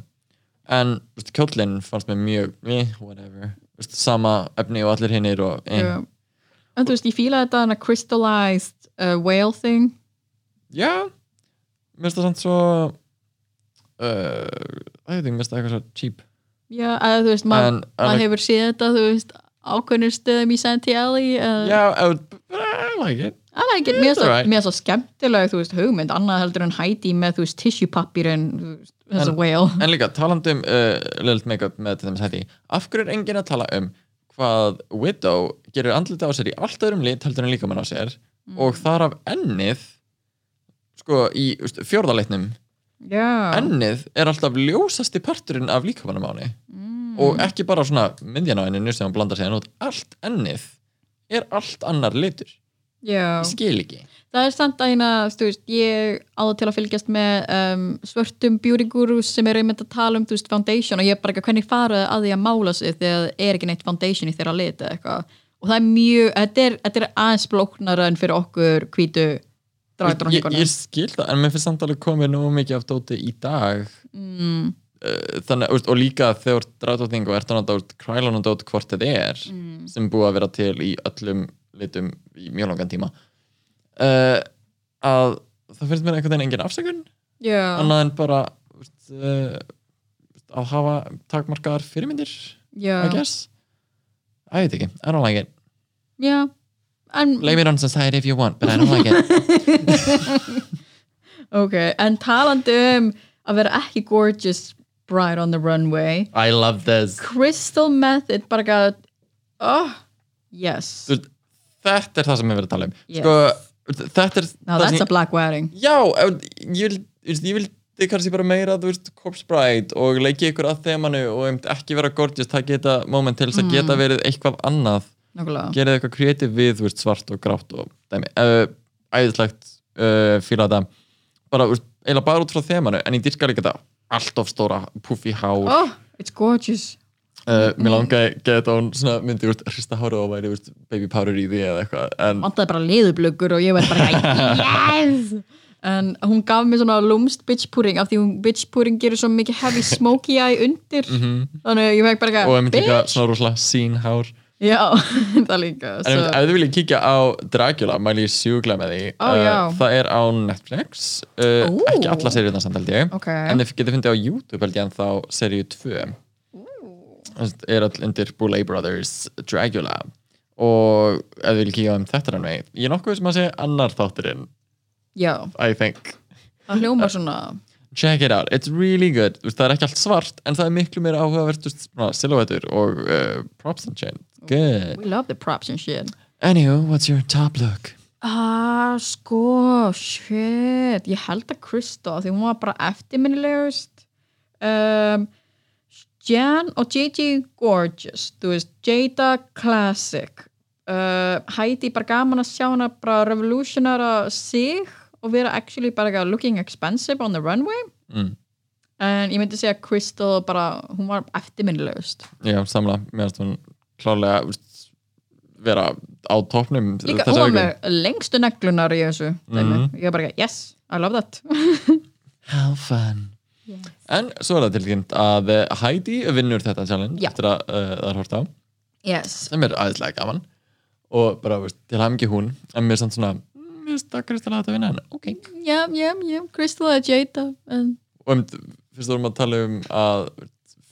[SPEAKER 1] en þú veist, kjóllinn fannst mér mjög eh, whatever, Þú veist, sama efni og allir hinnir og eh.
[SPEAKER 2] yeah. en þú veist, ég fílaði þetta hana crystallized uh, whale thing
[SPEAKER 1] já mér finnst það samt svo uh, ég veit ekki, mér finnst það eitthvað svo cheap
[SPEAKER 2] já, að þú veist, maður
[SPEAKER 1] En- en-
[SPEAKER 2] mað hefur séð þetta þú veist, ákveðnir stöðum í Santielli uh,
[SPEAKER 1] já, I, would, but I like it
[SPEAKER 2] I like it, mér er
[SPEAKER 1] it's
[SPEAKER 2] svo,
[SPEAKER 1] alright.
[SPEAKER 2] right. svo skemmtileg þú veist, hugmynd, annað heldur en Heidi með þú veist, tissue pappir en þess að whale
[SPEAKER 1] en líka talandi um uh, lilt make-up með til dæmis hætti af hverju er enginn að tala um hvað Widow gerir andlita á sér í allt öðrum lit heldur en líkamann á sér
[SPEAKER 2] Mm.
[SPEAKER 1] og þar af ennið sko í úst, fjórðalitnum
[SPEAKER 2] já,
[SPEAKER 1] ennið er alltaf ljósasti parturinn af líkamannum á henni
[SPEAKER 2] Mm.
[SPEAKER 1] og ekki bara svona myndjan á enninu sem hann blandar sér út, allt ennið er allt annar litur,
[SPEAKER 2] já.
[SPEAKER 1] ég skil ekki
[SPEAKER 2] það er samt að hérna, þú veist, ég áður til að fylgjast með um, svörtum beauty gurus sem eru einmitt að tala um, þú veist, foundation og ég er bara ekki að hvernig fara að því að mála sig þegar það er ekki neitt foundation í þeirra lit eða eitthvað og það er mjög, þetta er, þetta er aðeins blóknara en fyrir okkur hvítu
[SPEAKER 1] ég,
[SPEAKER 2] dragdróningunum
[SPEAKER 1] ég skil það, en mér finnst samt alveg komið nógu mikið af dóti í dag mm. þannig, úst, og líka þegar dráttótning og ertan að dót krælun og dót hvort þetta er sem búið að vera til í öllum litum í mjög langan tíma uh, að það finnst mér einhvern veginn engin afsökun
[SPEAKER 2] Já,
[SPEAKER 1] annað en bara úst, uh, að hafa takmarkaðar fyrirmyndir I
[SPEAKER 2] já,
[SPEAKER 1] guess I veit ekki, I don't like it
[SPEAKER 2] já en,
[SPEAKER 1] Blame it on society if you want, but I don't like it
[SPEAKER 2] ok, en talandi um að vera ekki gorgeous bride on the runway
[SPEAKER 1] I love this
[SPEAKER 2] Crystal Method bara gæði oh, yes,
[SPEAKER 1] Þú veist, Þetta er það sem við verðum að tala um
[SPEAKER 2] Yes.
[SPEAKER 1] sko, Þetta er
[SPEAKER 2] now
[SPEAKER 1] það
[SPEAKER 2] that's
[SPEAKER 1] sem
[SPEAKER 2] a black wedding
[SPEAKER 1] Já, ef- ég, vil- þú veist, ég vildi kannski bara meira, þú veist, Corpse Bride og leiki ykkur að þemanu og um, ekki vera gorgeous, það geta moment til þess að geta
[SPEAKER 2] Mm.
[SPEAKER 1] verið eitthvað annað,
[SPEAKER 2] nákvæmlega,
[SPEAKER 1] gerið eitthvað kreativ við, þú veist, svart og grátt og dæmi, uh, æðislegt uh, fíla þetta, bara, þú veist, eiginlega bara út frá þemanu, en ég dyrka líka þetta allt of stóra puffi hár
[SPEAKER 2] oh, Mm. it's gorgeous
[SPEAKER 1] uh, mér langaði geta hún svona myndi, þú veist, hrista hárið og væri, þú veist, baby powder í því eða eitthvað, en
[SPEAKER 2] vantaði bara liðublöggur og ég var bara eitthvað, yes en hún gaf mér svona lúmst bitch pudding af því hún bitch pudding gerir svo mikið heavy smoky eye undir þannig að ég fekk bara
[SPEAKER 1] Mhm. og einmitt líka
[SPEAKER 2] eitthvað, bitch
[SPEAKER 1] svona rúslega sín hár
[SPEAKER 2] já, það líka
[SPEAKER 1] En einmitt,
[SPEAKER 2] so,
[SPEAKER 1] ef þið viljið kíkja á Dracula, mæli ég sjúkla með því
[SPEAKER 2] Ó, já.
[SPEAKER 1] Það er á Netflix uh,
[SPEAKER 2] Ú.
[SPEAKER 1] Ekki alla seriðna samt held ég
[SPEAKER 2] Ok.
[SPEAKER 1] En þið getið fundið á YouTube held ég en þá seriðu 2 Það er all undir Boulay Brothers Dracula Og ef þið viljið kíkja á um þetta rann veginn Ég er nokkuð sem að segja annar þátturinn
[SPEAKER 2] já,
[SPEAKER 1] I think
[SPEAKER 2] það hljómar svona
[SPEAKER 1] Check it out, it's really good Þú veist, Það er ekki allt svart en það er miklu meira áhugavert þú veist, svona Silhouettur og uh, props and shit Good
[SPEAKER 2] we love the props and shit
[SPEAKER 1] Anywho, what's your top look?
[SPEAKER 2] ah, sko, shit ég held að Kristó, af því hún var bara eftirminnilegust um, Jan og JJ Gorgeous, þú veist Jada Classic uh, Heidi bara gaman að sjá hana bara revolutionara sig og vera actually bara eitthvað looking expensive on the runway
[SPEAKER 1] Mm.
[SPEAKER 2] en ég myndi segja að Crystal bara, hún var eftirminnilegust
[SPEAKER 1] Já, samla, mér finnst hún klálega úst, vera á topnum
[SPEAKER 2] líka
[SPEAKER 1] þessa
[SPEAKER 2] hún var
[SPEAKER 1] viku.
[SPEAKER 2] með lengstu neglunar í þessu mm. ég var bara, eitthvað, yes, I love that
[SPEAKER 1] How fun En svo er það tilkynnt að eh, Heidi vinnur þetta challenge
[SPEAKER 2] Já.
[SPEAKER 1] eftir að uh, það er hort á
[SPEAKER 2] yes,
[SPEAKER 1] sem er aðeinslega gaman og bara, veist, til hafði ekki hún en mér er samt svona, mm, mér finnst það kristilega að þetta vinna hérna." en ok
[SPEAKER 2] Já, já, já, Crystal eða Jada en,
[SPEAKER 1] og um, fyrst vorum að tala um að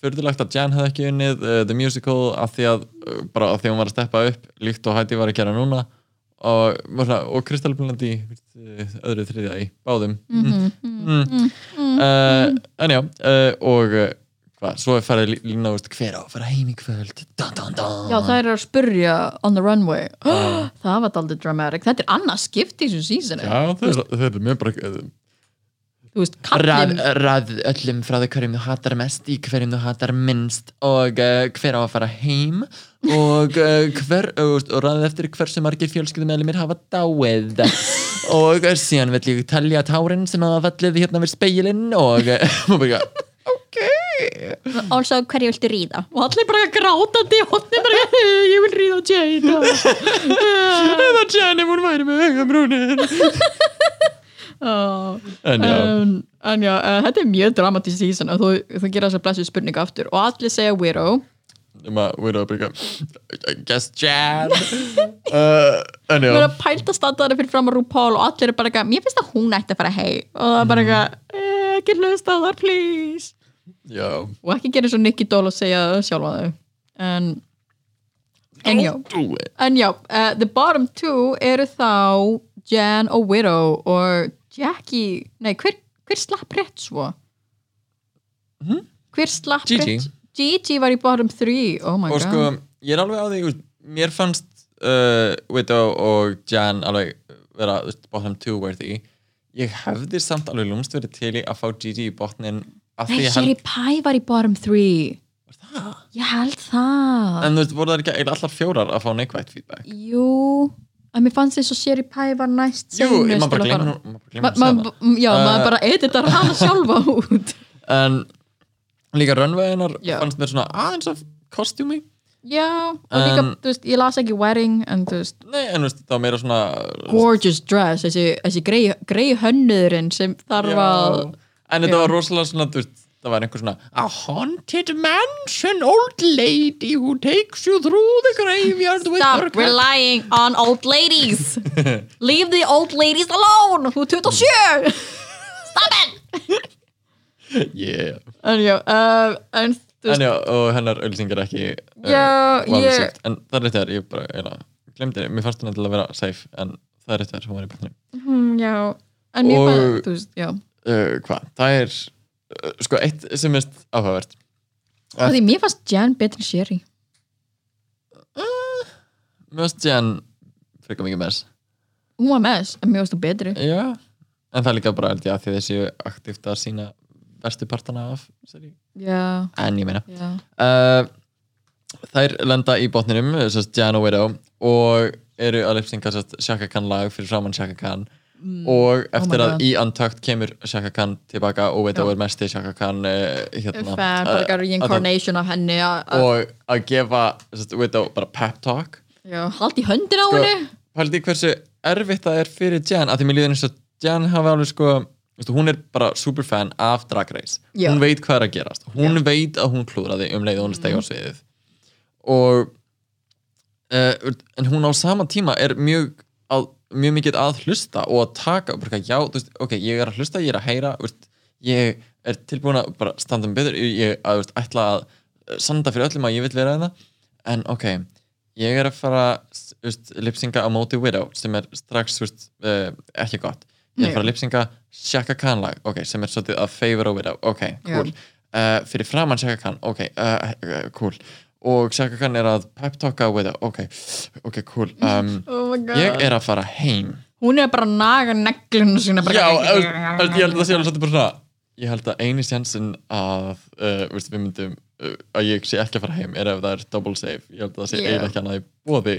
[SPEAKER 1] fyrðulegt að Jan hefði ekki unnið uh, The Musical af því að uh, bara af því að hún var að steppa upp líkt og Heidi var að gera núna og, var svona, og Crystal Blandi öðru þriðja í báðum mm -hmm. uh, en já uh, og uh, hvað, svo er farið lí- lína úst, hver á að fara heim í kvöld dun, dun, dun.
[SPEAKER 2] Já, þær eru að spurja on the runway Það var daldið dramatic Þetta er annað skipt í þessu sísoni
[SPEAKER 1] Ah. já þeir, þeir eru mjög bara uh,
[SPEAKER 2] Þú veist,
[SPEAKER 1] Ræð,
[SPEAKER 2] kallin
[SPEAKER 1] ræð öllum frá þau hverjum þú hatar mest í hverjum þú hatar minnst og uh, hver á að fara heim og, uh, hver, uh, og ræð eftir hversu margir fjölskyldum eða mér hafa dáið og uh, síðan vill ég talja tárin sem hafa fallið hérna við speilin og uh, og bara, ok
[SPEAKER 2] Og svo hverju viltu ríða Og allir bara grátandi og allir bara, Ég vil ríða á Jada
[SPEAKER 1] eða Jenny hún væri með augabrúnin
[SPEAKER 2] oh.
[SPEAKER 1] en já,
[SPEAKER 2] en, en já, uh, þetta er mjög dramatic season og þú, þú gerir þess að blessu spurningu aftur og allir segja weirdo
[SPEAKER 1] um að við erum að byrja I guess Jan uh, en já
[SPEAKER 2] Þú verður að pælta standaðar fyrir fram að RuPaul og allir eru bara eitthvað, mér finnst að hún ætti að fara heim og það er bara eitthvað, "Eh, ekki hlusta á þar, please
[SPEAKER 1] já
[SPEAKER 2] og ekki gera eins og Nicky Doll og segja það sjálfa þau en en já,
[SPEAKER 1] do it
[SPEAKER 2] en já uh, the bottom two eru þá Jan og Widow og Jackie, nei hver, hver slapp rétt svo? hver slapp
[SPEAKER 1] Hm? Gigi.
[SPEAKER 2] rétt? Gigi var í bottom three, oh my god
[SPEAKER 1] og sko, ég er alveg á því úst, mér fannst uh, Widow og Jan alveg vera úst, bottom two worthy ég hefði samt alveg lúmst verið til í að fá Gigi í botnin af
[SPEAKER 2] nei,
[SPEAKER 1] því ég
[SPEAKER 2] Sherry
[SPEAKER 1] held
[SPEAKER 2] Pie var í bottom three ég held það
[SPEAKER 1] en þú veist, voru það ekki eiginlega allar fjórar að fá neikvægt feedback
[SPEAKER 2] jú, að mér fannst eins og Sherry Pie var næst
[SPEAKER 1] jú, ég Uh,
[SPEAKER 2] seinust
[SPEAKER 1] maður bara
[SPEAKER 2] til að fara.
[SPEAKER 1] glemur maður bara
[SPEAKER 2] Ma,
[SPEAKER 1] glemur að segja
[SPEAKER 2] ma- já, maður bara editar hana sjálfa út
[SPEAKER 1] það en líka runwaynar
[SPEAKER 2] Já.
[SPEAKER 1] fannst mér svona aðeins af kostjúmi
[SPEAKER 2] Já, og líka,
[SPEAKER 1] En-
[SPEAKER 2] þú veist, ég las ekki wedding en þú veist,
[SPEAKER 1] nei, en þú veist, það var meira svona
[SPEAKER 2] gorgeous dress þessi, þessi grei, grei hönnurinn sem þarf að
[SPEAKER 1] Já. en þetta
[SPEAKER 2] Já.
[SPEAKER 1] var rosalega svona þú veist, það var einhver svona a haunted mansion old lady who takes you through the graveyard with her
[SPEAKER 2] Stop relying on old ladies Leave the old ladies alone Þú er 27 Stop it
[SPEAKER 1] yeah.
[SPEAKER 2] en já, uh, en þú
[SPEAKER 1] en
[SPEAKER 2] veist
[SPEAKER 1] já, og hennar ölsingar ekki
[SPEAKER 2] Já, ég,
[SPEAKER 1] vafasögt, en það er rétt þér ég bara, ég glemdi þér, mér fannst henni til að vera safe, en það er rétt þér, hún var í banninu
[SPEAKER 2] hmm, já En ég
[SPEAKER 1] Og-
[SPEAKER 2] bara, þú veist, já
[SPEAKER 1] uh, hvað, það er uh, sko eitt sem er áhugavert
[SPEAKER 2] Af Því mér fannst Jan betri en Sherry
[SPEAKER 1] mér finnst ég hann frekar mikið með þess
[SPEAKER 2] Hún var með þess, en mér fannst þú betri
[SPEAKER 1] Já, en það er líka bara held ég að því þessi aktíft að sína verstu partana af seríu.
[SPEAKER 2] Já,
[SPEAKER 1] en ég meina
[SPEAKER 2] já
[SPEAKER 1] uh, þær lenda í botninum sérst Jan og Widow og eru að lipstinga sérst Shaka Khan lag fyrir framann Shaka Khan
[SPEAKER 2] Mm.
[SPEAKER 1] og eftir
[SPEAKER 2] my
[SPEAKER 1] að
[SPEAKER 2] God.
[SPEAKER 1] í Untucked kemur Shaka Khan tilbaka og
[SPEAKER 2] Já.
[SPEAKER 1] Widow er mesti Shaka Khan uh, hérna
[SPEAKER 2] Fan, bara
[SPEAKER 1] uh,
[SPEAKER 2] eitthvað reincarnation af henni að- að-
[SPEAKER 1] og að gefa sérst, Widow bara pep talk
[SPEAKER 2] Já, haldi í höndin á
[SPEAKER 1] Sko-
[SPEAKER 2] henni
[SPEAKER 1] haldið hversu erfitt það er fyrir Jan að því mér líður eins og Jan hafa alveg sko veistu, hún er bara superfan af Drag Race
[SPEAKER 2] Já.
[SPEAKER 1] hún veit hvað er að gerast hún veit að hún klúraði um leið og hún stegi á sviðið og uh, en hún á sama tíma er mjög að, mjög mikið að hlusta og að taka og bara, já, þú veist, ok, ég er að hlusta, ég er að heyra veist, ég er tilbúin að bara standa um betur, ég að, veist, ætla að eh, sanda fyrir öllum að ég vil vera það en ok, ég er að fara s- veist, lipsinga á móti Widow sem er strax veist, uh, ekki gott ég
[SPEAKER 2] Nei.
[SPEAKER 1] er að fara að lipsinga Shaka Khan lag ok, sem er svolítið að favor á Widow ok,
[SPEAKER 2] Já.
[SPEAKER 1] cool, uh, fyrir framann Shaka Khan ok, uh, uh, cool og Shaka Khan er að pep talka á Widow ok, ok, cool um,
[SPEAKER 2] Oh my god
[SPEAKER 1] ég er að fara heim
[SPEAKER 2] Hún er bara að naga neglunum sína bara- hérna,
[SPEAKER 1] já, þú veist, ég held að það sé alveg svolítið bara svona ég held að eini sjansin að uh, veist, við myndum uh, að ég sé ekki að fara heim er ef það er double save ég held að það sé
[SPEAKER 2] Já.
[SPEAKER 1] eiginlega ekki annað í bóði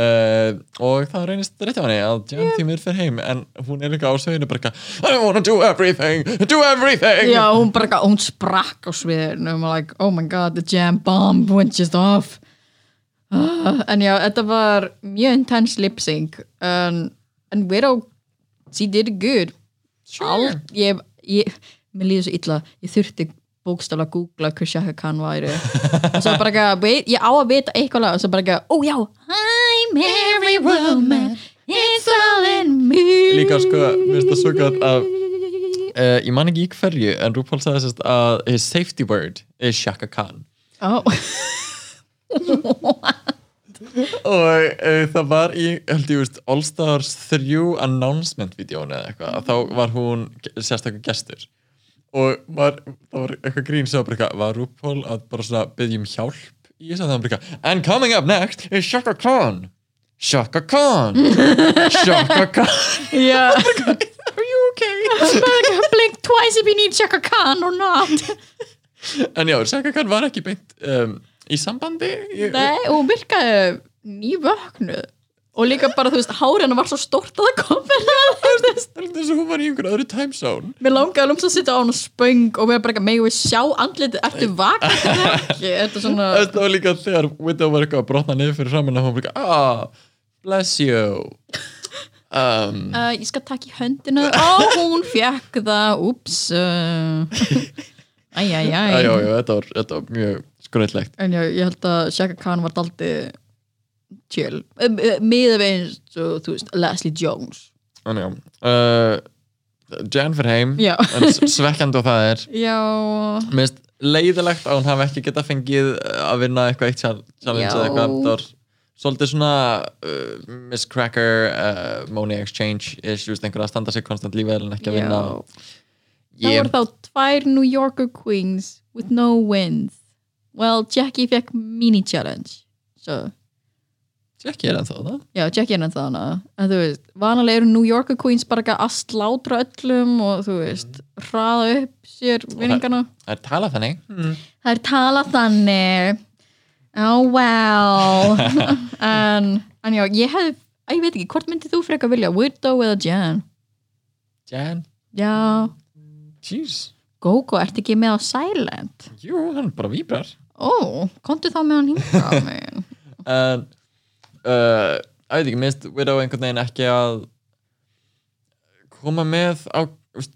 [SPEAKER 1] uh, og það reynist rétt á henni að Jan yeah. tímur fyrir heim en hún er líka á sveinu bara eitthvað I wanna do everything, do everything
[SPEAKER 2] Já, hún bara eitthvað, hún sprakk á sviðinu og maður like, oh my god, the jam bomb went just off uh, En já, þetta var mjög intense lip sync en, en Widow, she did good All, ég, ég, mér líður svo illa ég þurfti bókstaflega að googla hver Shaka Khan væri og svo bara eitthvað, wait, ég á að vita eitthvað lag og svo bara eitthvað, ó já I'm every woman, it's all in me
[SPEAKER 1] líka sko, mér finnst það svo gott að uh, ég man ekki í hverju en RuPaul sagði sérst að his safety word is Shaka Khan
[SPEAKER 2] Ó,
[SPEAKER 1] og uh, það var í, held ég veist, All Stars 3 announcement videónu eða eitthvað, að þá var hún ge- sérstakur gestur og var, það var eitthvað grín sem var bara eitthvað, var RuPaul að bara svona biðja um hjálp í þess að það var bara eitthvað and coming up next is Shaka Khan Shaka Khan Shaka Khan,
[SPEAKER 2] já
[SPEAKER 1] Oh are you okay?
[SPEAKER 2] blink twice if you need Shaka Khan or not
[SPEAKER 1] en já, Shaka Khan var ekki beint um, í sambandi ég,
[SPEAKER 2] Nei, og hún virkaði nývöknuð og líka bara, þú veist, hárinu var svo stórt að það kom fyrir að
[SPEAKER 1] heldur þess að hún var í einhverju öðru time zone
[SPEAKER 2] Mér langaði alveg að sitja á hann og spöng og mér bara ekki, megum við sjá andlitið, ertu vakandi eða ekki? Þetta er svona,
[SPEAKER 1] Þetta var líka þegar Widow var eitthvað að brotna niður fyrir framann og hún bara eitthvað, ah, bless you um,
[SPEAKER 2] uh, ég skal taka í höndina, á hún fekk það, úps, uh,
[SPEAKER 1] að, já,
[SPEAKER 2] æjæjæj.
[SPEAKER 1] já, þetta, var, þetta var mjög skröðlegt
[SPEAKER 2] En já, ég held að Shaka Khan var daldi chill, miða við eins og, þú veist, Leslie Jones.
[SPEAKER 1] en já uh, Jan fyrir heim
[SPEAKER 2] Já.
[SPEAKER 1] en s- svekkjandi og það er
[SPEAKER 2] Já,
[SPEAKER 1] minnst leiðilegt að hún hafi ekki getað fengið uh, að vinna eitthvað eitt chal- challenge
[SPEAKER 2] Já.
[SPEAKER 1] eða eitthvað það var svolítið svona uh, Miss Cracker uh, Money Exchange issues einhver að standa sig konstant lífið en ekki að
[SPEAKER 2] Já.
[SPEAKER 1] vinna
[SPEAKER 2] það
[SPEAKER 1] ég,
[SPEAKER 2] voru þá tvær New Yorker queens with no wins. Well, Jackie fekk mini-challenge, so...
[SPEAKER 1] ekki er ennþá það
[SPEAKER 2] Já, Jackie er ennþá hana en þú veist, vanalega eru New Yorker Queens bara ekki að slátra öllum og þú veist, hraða upp sér vinningana.
[SPEAKER 1] það er talað þannig
[SPEAKER 2] Hmm.
[SPEAKER 1] mm.
[SPEAKER 2] Það er talað þannig Oh well en, en já, ég hef að ég veit ekki, hvort myndið þú frekar vilja Widow eða Jan?
[SPEAKER 1] Jan
[SPEAKER 2] Já,
[SPEAKER 1] Jeez.
[SPEAKER 2] Gogo, ert ekki með á Silent?
[SPEAKER 1] Jú, hann bara víbrar.
[SPEAKER 2] Ó, komdu þá með hann hingað megin.
[SPEAKER 1] En, uh, ég veit ekki, minnst Widow einhvern veginn ekki að koma með á, úst,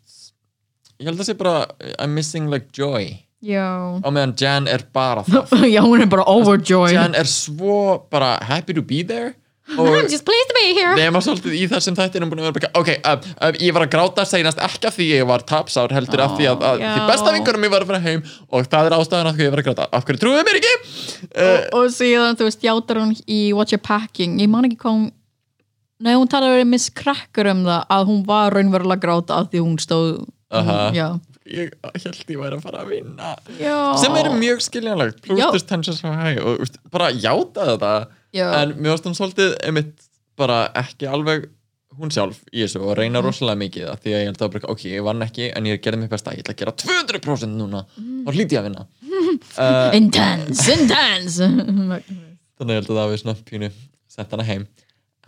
[SPEAKER 1] ég held að sé bara I'm missing like joy.
[SPEAKER 2] Já
[SPEAKER 1] Á meðan Jan er bara það.
[SPEAKER 2] Já, hún er bara overjoyed
[SPEAKER 1] Jan er svo bara happy to be there og
[SPEAKER 3] I'm just pleased to be here
[SPEAKER 1] nema svolítið í þessum þættinum búin að vera bara ok, uh, uh, ég var að gráta seinast ekki af því ég var tapsár heldur af því að, að
[SPEAKER 2] Já.
[SPEAKER 1] því besta vingurum ég var að fara heim og það er ástæðan af því ég var að gráta af hverju trúið mér ekki uh,
[SPEAKER 2] og síðan, þú veist, játar hún í What You're Packing, ég man ekki hvað hún Nei, hún talaði verið Miss Cracker um það að hún var raunverulega að gráta að því hún stóð
[SPEAKER 1] Aha.
[SPEAKER 2] hún, já.
[SPEAKER 1] ég held ég væri að fara að vinna
[SPEAKER 2] já.
[SPEAKER 1] sem er mjög skiljanlegt
[SPEAKER 2] Já.
[SPEAKER 1] plústus tensions frá hæg og úst, bara játa þetta
[SPEAKER 2] Já.
[SPEAKER 1] en mér varst hún svolítið einmitt bara ekki alveg hún sjálf í þessu og
[SPEAKER 2] Mhm.
[SPEAKER 1] reyna rosalega mikið að því að ég held að bara ok, ég vann ekki en ég gerði mér besta, ég ætla að gera 200% núna
[SPEAKER 2] Mhm.
[SPEAKER 1] og hlýti ég að vinna uh,
[SPEAKER 2] intense, intense
[SPEAKER 1] þannig að ég held að það hafi svona pínu sett hana heim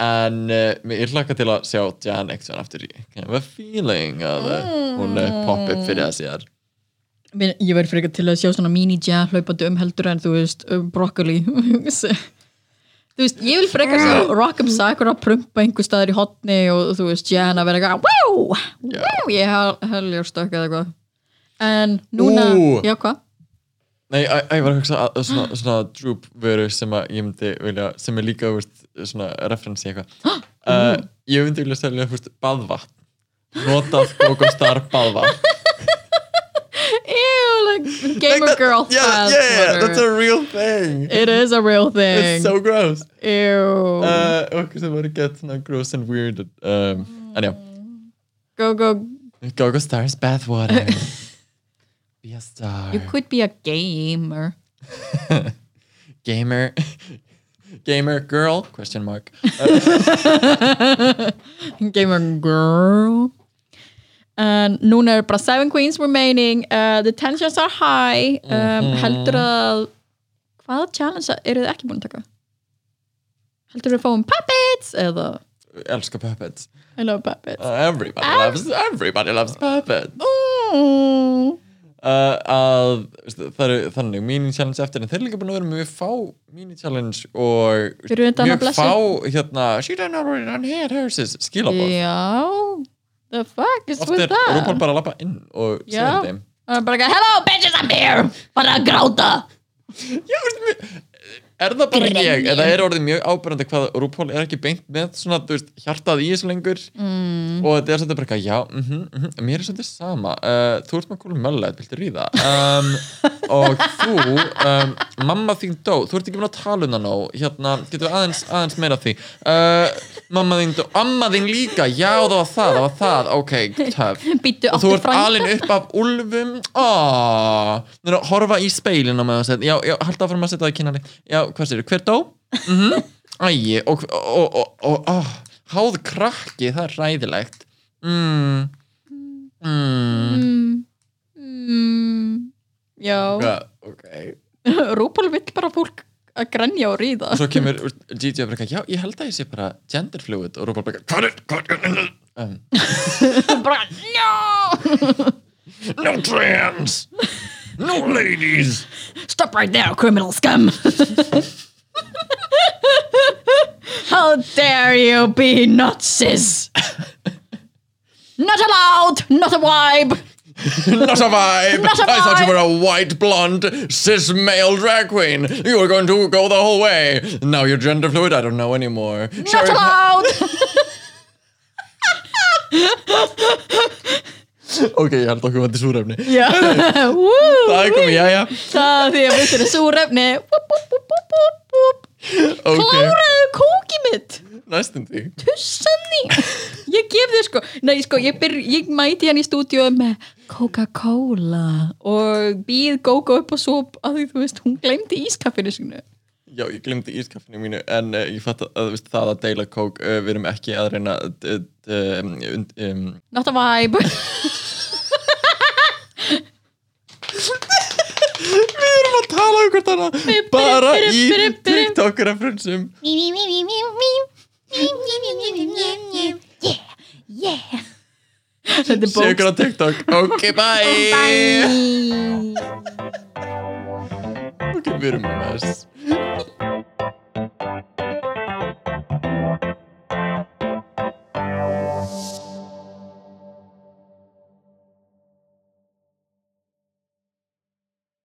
[SPEAKER 1] en uh, mér- ég hlakka til að sjá Jan Exxon aftur í kind of a feeling að uh, hún uh, popp upp fyrir það síðar
[SPEAKER 2] Mér, ég verði frekar til að sjá svona mini-ja hlaupandi um heldur en þú veist um broccoli þú veist, ég vil frekar sjá Rock'em Sakura prumpa einhver staðar í hotni og þú veist, Jan að vera eitthvað wow,
[SPEAKER 1] Já.
[SPEAKER 2] wow, ég heljur stökk eða eitthvað en núna,
[SPEAKER 1] Ú.
[SPEAKER 2] já hvað
[SPEAKER 1] Nei, að, að ég var að hugsa að svona, svona droop veru sem að ég myndi vilja, sem er líka, veist, svona referensi í eitthvað. Uh, ég myndi vilja selja, veist, baðvatn. Notað Gogostar baðvatn.
[SPEAKER 2] ew, like gamer girl
[SPEAKER 1] yeah,
[SPEAKER 2] fast,
[SPEAKER 1] Yeah,
[SPEAKER 2] whatever.
[SPEAKER 1] that's a real thing.
[SPEAKER 2] it is a real thing
[SPEAKER 1] It's so gross.
[SPEAKER 2] ew,
[SPEAKER 1] Uh, okkur sem voru gett svona gross and weird. Um, en já,
[SPEAKER 2] go go
[SPEAKER 1] Gogostar's bathwater. Be a star.
[SPEAKER 2] you could be a gamer
[SPEAKER 1] Gamer. Gamer girl? Question mark.
[SPEAKER 2] Gamer girl. En núna eru bara seven queens remaining. Uh, the tensions are high. Um,
[SPEAKER 1] Mhm.
[SPEAKER 2] Heldur að hvaða challenge eru þið ekki búin að taka? Heldur að við fáum puppets eða
[SPEAKER 1] Elskar puppets.
[SPEAKER 2] I love puppets.
[SPEAKER 1] Uh, everybody loves everybody loves puppets
[SPEAKER 2] Mm.
[SPEAKER 1] uh, að veistu, það eru þannig mini challenge eftir en þeir eru líka búin að vera með mjög fá mini challenge og veistu,
[SPEAKER 2] Fyrir utan að
[SPEAKER 1] mjög
[SPEAKER 2] blessi.
[SPEAKER 1] fá hérna she don't know where her hair herses skilabóð
[SPEAKER 2] Já. The fuck is
[SPEAKER 1] oft
[SPEAKER 2] with
[SPEAKER 1] er
[SPEAKER 2] that?
[SPEAKER 1] Rúpol bara að lappa inn og segja
[SPEAKER 2] Já.
[SPEAKER 1] þeim
[SPEAKER 2] Það er bara ekki, hello bitches I'm here. Bara að gráta.
[SPEAKER 1] Já, veistu, mjög- er það bara
[SPEAKER 2] Grenja.
[SPEAKER 1] ég eða er orðið mjög ábyrjandi hvað Rúpol er ekki beint með svona þú veist, hjartað í þessu lengur mm. og þetta er svolítið bara eitthvað, já, mm mér er svolítið sama uh, þú ert með kúlum möllet, viltu ríða um, og þú um, mamma þín dó, þú ert ekki búin að tala um það nóg hérna, getur við aðeins, aðeins meira af því uh, mamma þín dó, amma þín líka já, það var það, það var það, ok töf,
[SPEAKER 2] Býttu
[SPEAKER 1] og þú
[SPEAKER 2] aftur
[SPEAKER 1] ert
[SPEAKER 2] frænda.
[SPEAKER 1] alin upp af úlfum aaaah þú erum að horfa í speilin á meðan sett já, já, halda áfram að setja það í kynali já, hvað sér, hver dó? mhm, ægi og, og, og, og, og háð krakki, það er ræðilegt mm mm
[SPEAKER 2] Mm. Mm. Já.
[SPEAKER 1] Hvað, ok
[SPEAKER 2] Rúpol vill bara fólk að grenja og ríða
[SPEAKER 1] svo kemur Gigi að breyka, já, ég held að ég sé bara gender fluid og Rúbal breyka, hvað er, hvað er um,
[SPEAKER 2] bara, no,
[SPEAKER 1] no trans no ladies
[SPEAKER 2] stop right there criminal scum how dare you be not cis not allowed not a vibe
[SPEAKER 1] Not a vibe.
[SPEAKER 2] Not a
[SPEAKER 1] I thought you
[SPEAKER 2] vibe.
[SPEAKER 1] were a white, blonde, cis male drag queen. You were going to go the whole way. Now you're gender fluid. I don't know anymore.
[SPEAKER 2] not
[SPEAKER 1] Sherry,
[SPEAKER 2] allowed
[SPEAKER 1] ok, ég held okkur að þetta er súrefni.
[SPEAKER 2] já,
[SPEAKER 1] Það er
[SPEAKER 2] woo
[SPEAKER 1] komið, jæja.
[SPEAKER 2] það er því að við þurfum súrefni Búp, búp, búp, búp, búp, búp.
[SPEAKER 1] Ok,
[SPEAKER 2] kláraðu kókið mitt
[SPEAKER 1] næstum því.
[SPEAKER 2] Sanni, ég gef þér sko Nei, sko, ég, byr, ég mæti hann í stúdíu með Coca-Cola og býð Gogo upp á sop af því þú veist, hún glemdi ískaffinu sinu
[SPEAKER 1] Já, ég glemdi ískaffinu mínu en uh, ég fatt að, að veist, það að deila kók, uh, við erum ekki að reyna að uh, um, und- um,
[SPEAKER 2] Not a vibe
[SPEAKER 1] Við erum að tala um hvert annað bara í
[SPEAKER 2] brim, brim.
[SPEAKER 1] TikTok-referensum.
[SPEAKER 2] Þetta er
[SPEAKER 1] Sér
[SPEAKER 2] bók
[SPEAKER 1] ykkur á TikTok. Ok, bye.
[SPEAKER 2] Bye.
[SPEAKER 1] Ok, við erum mess.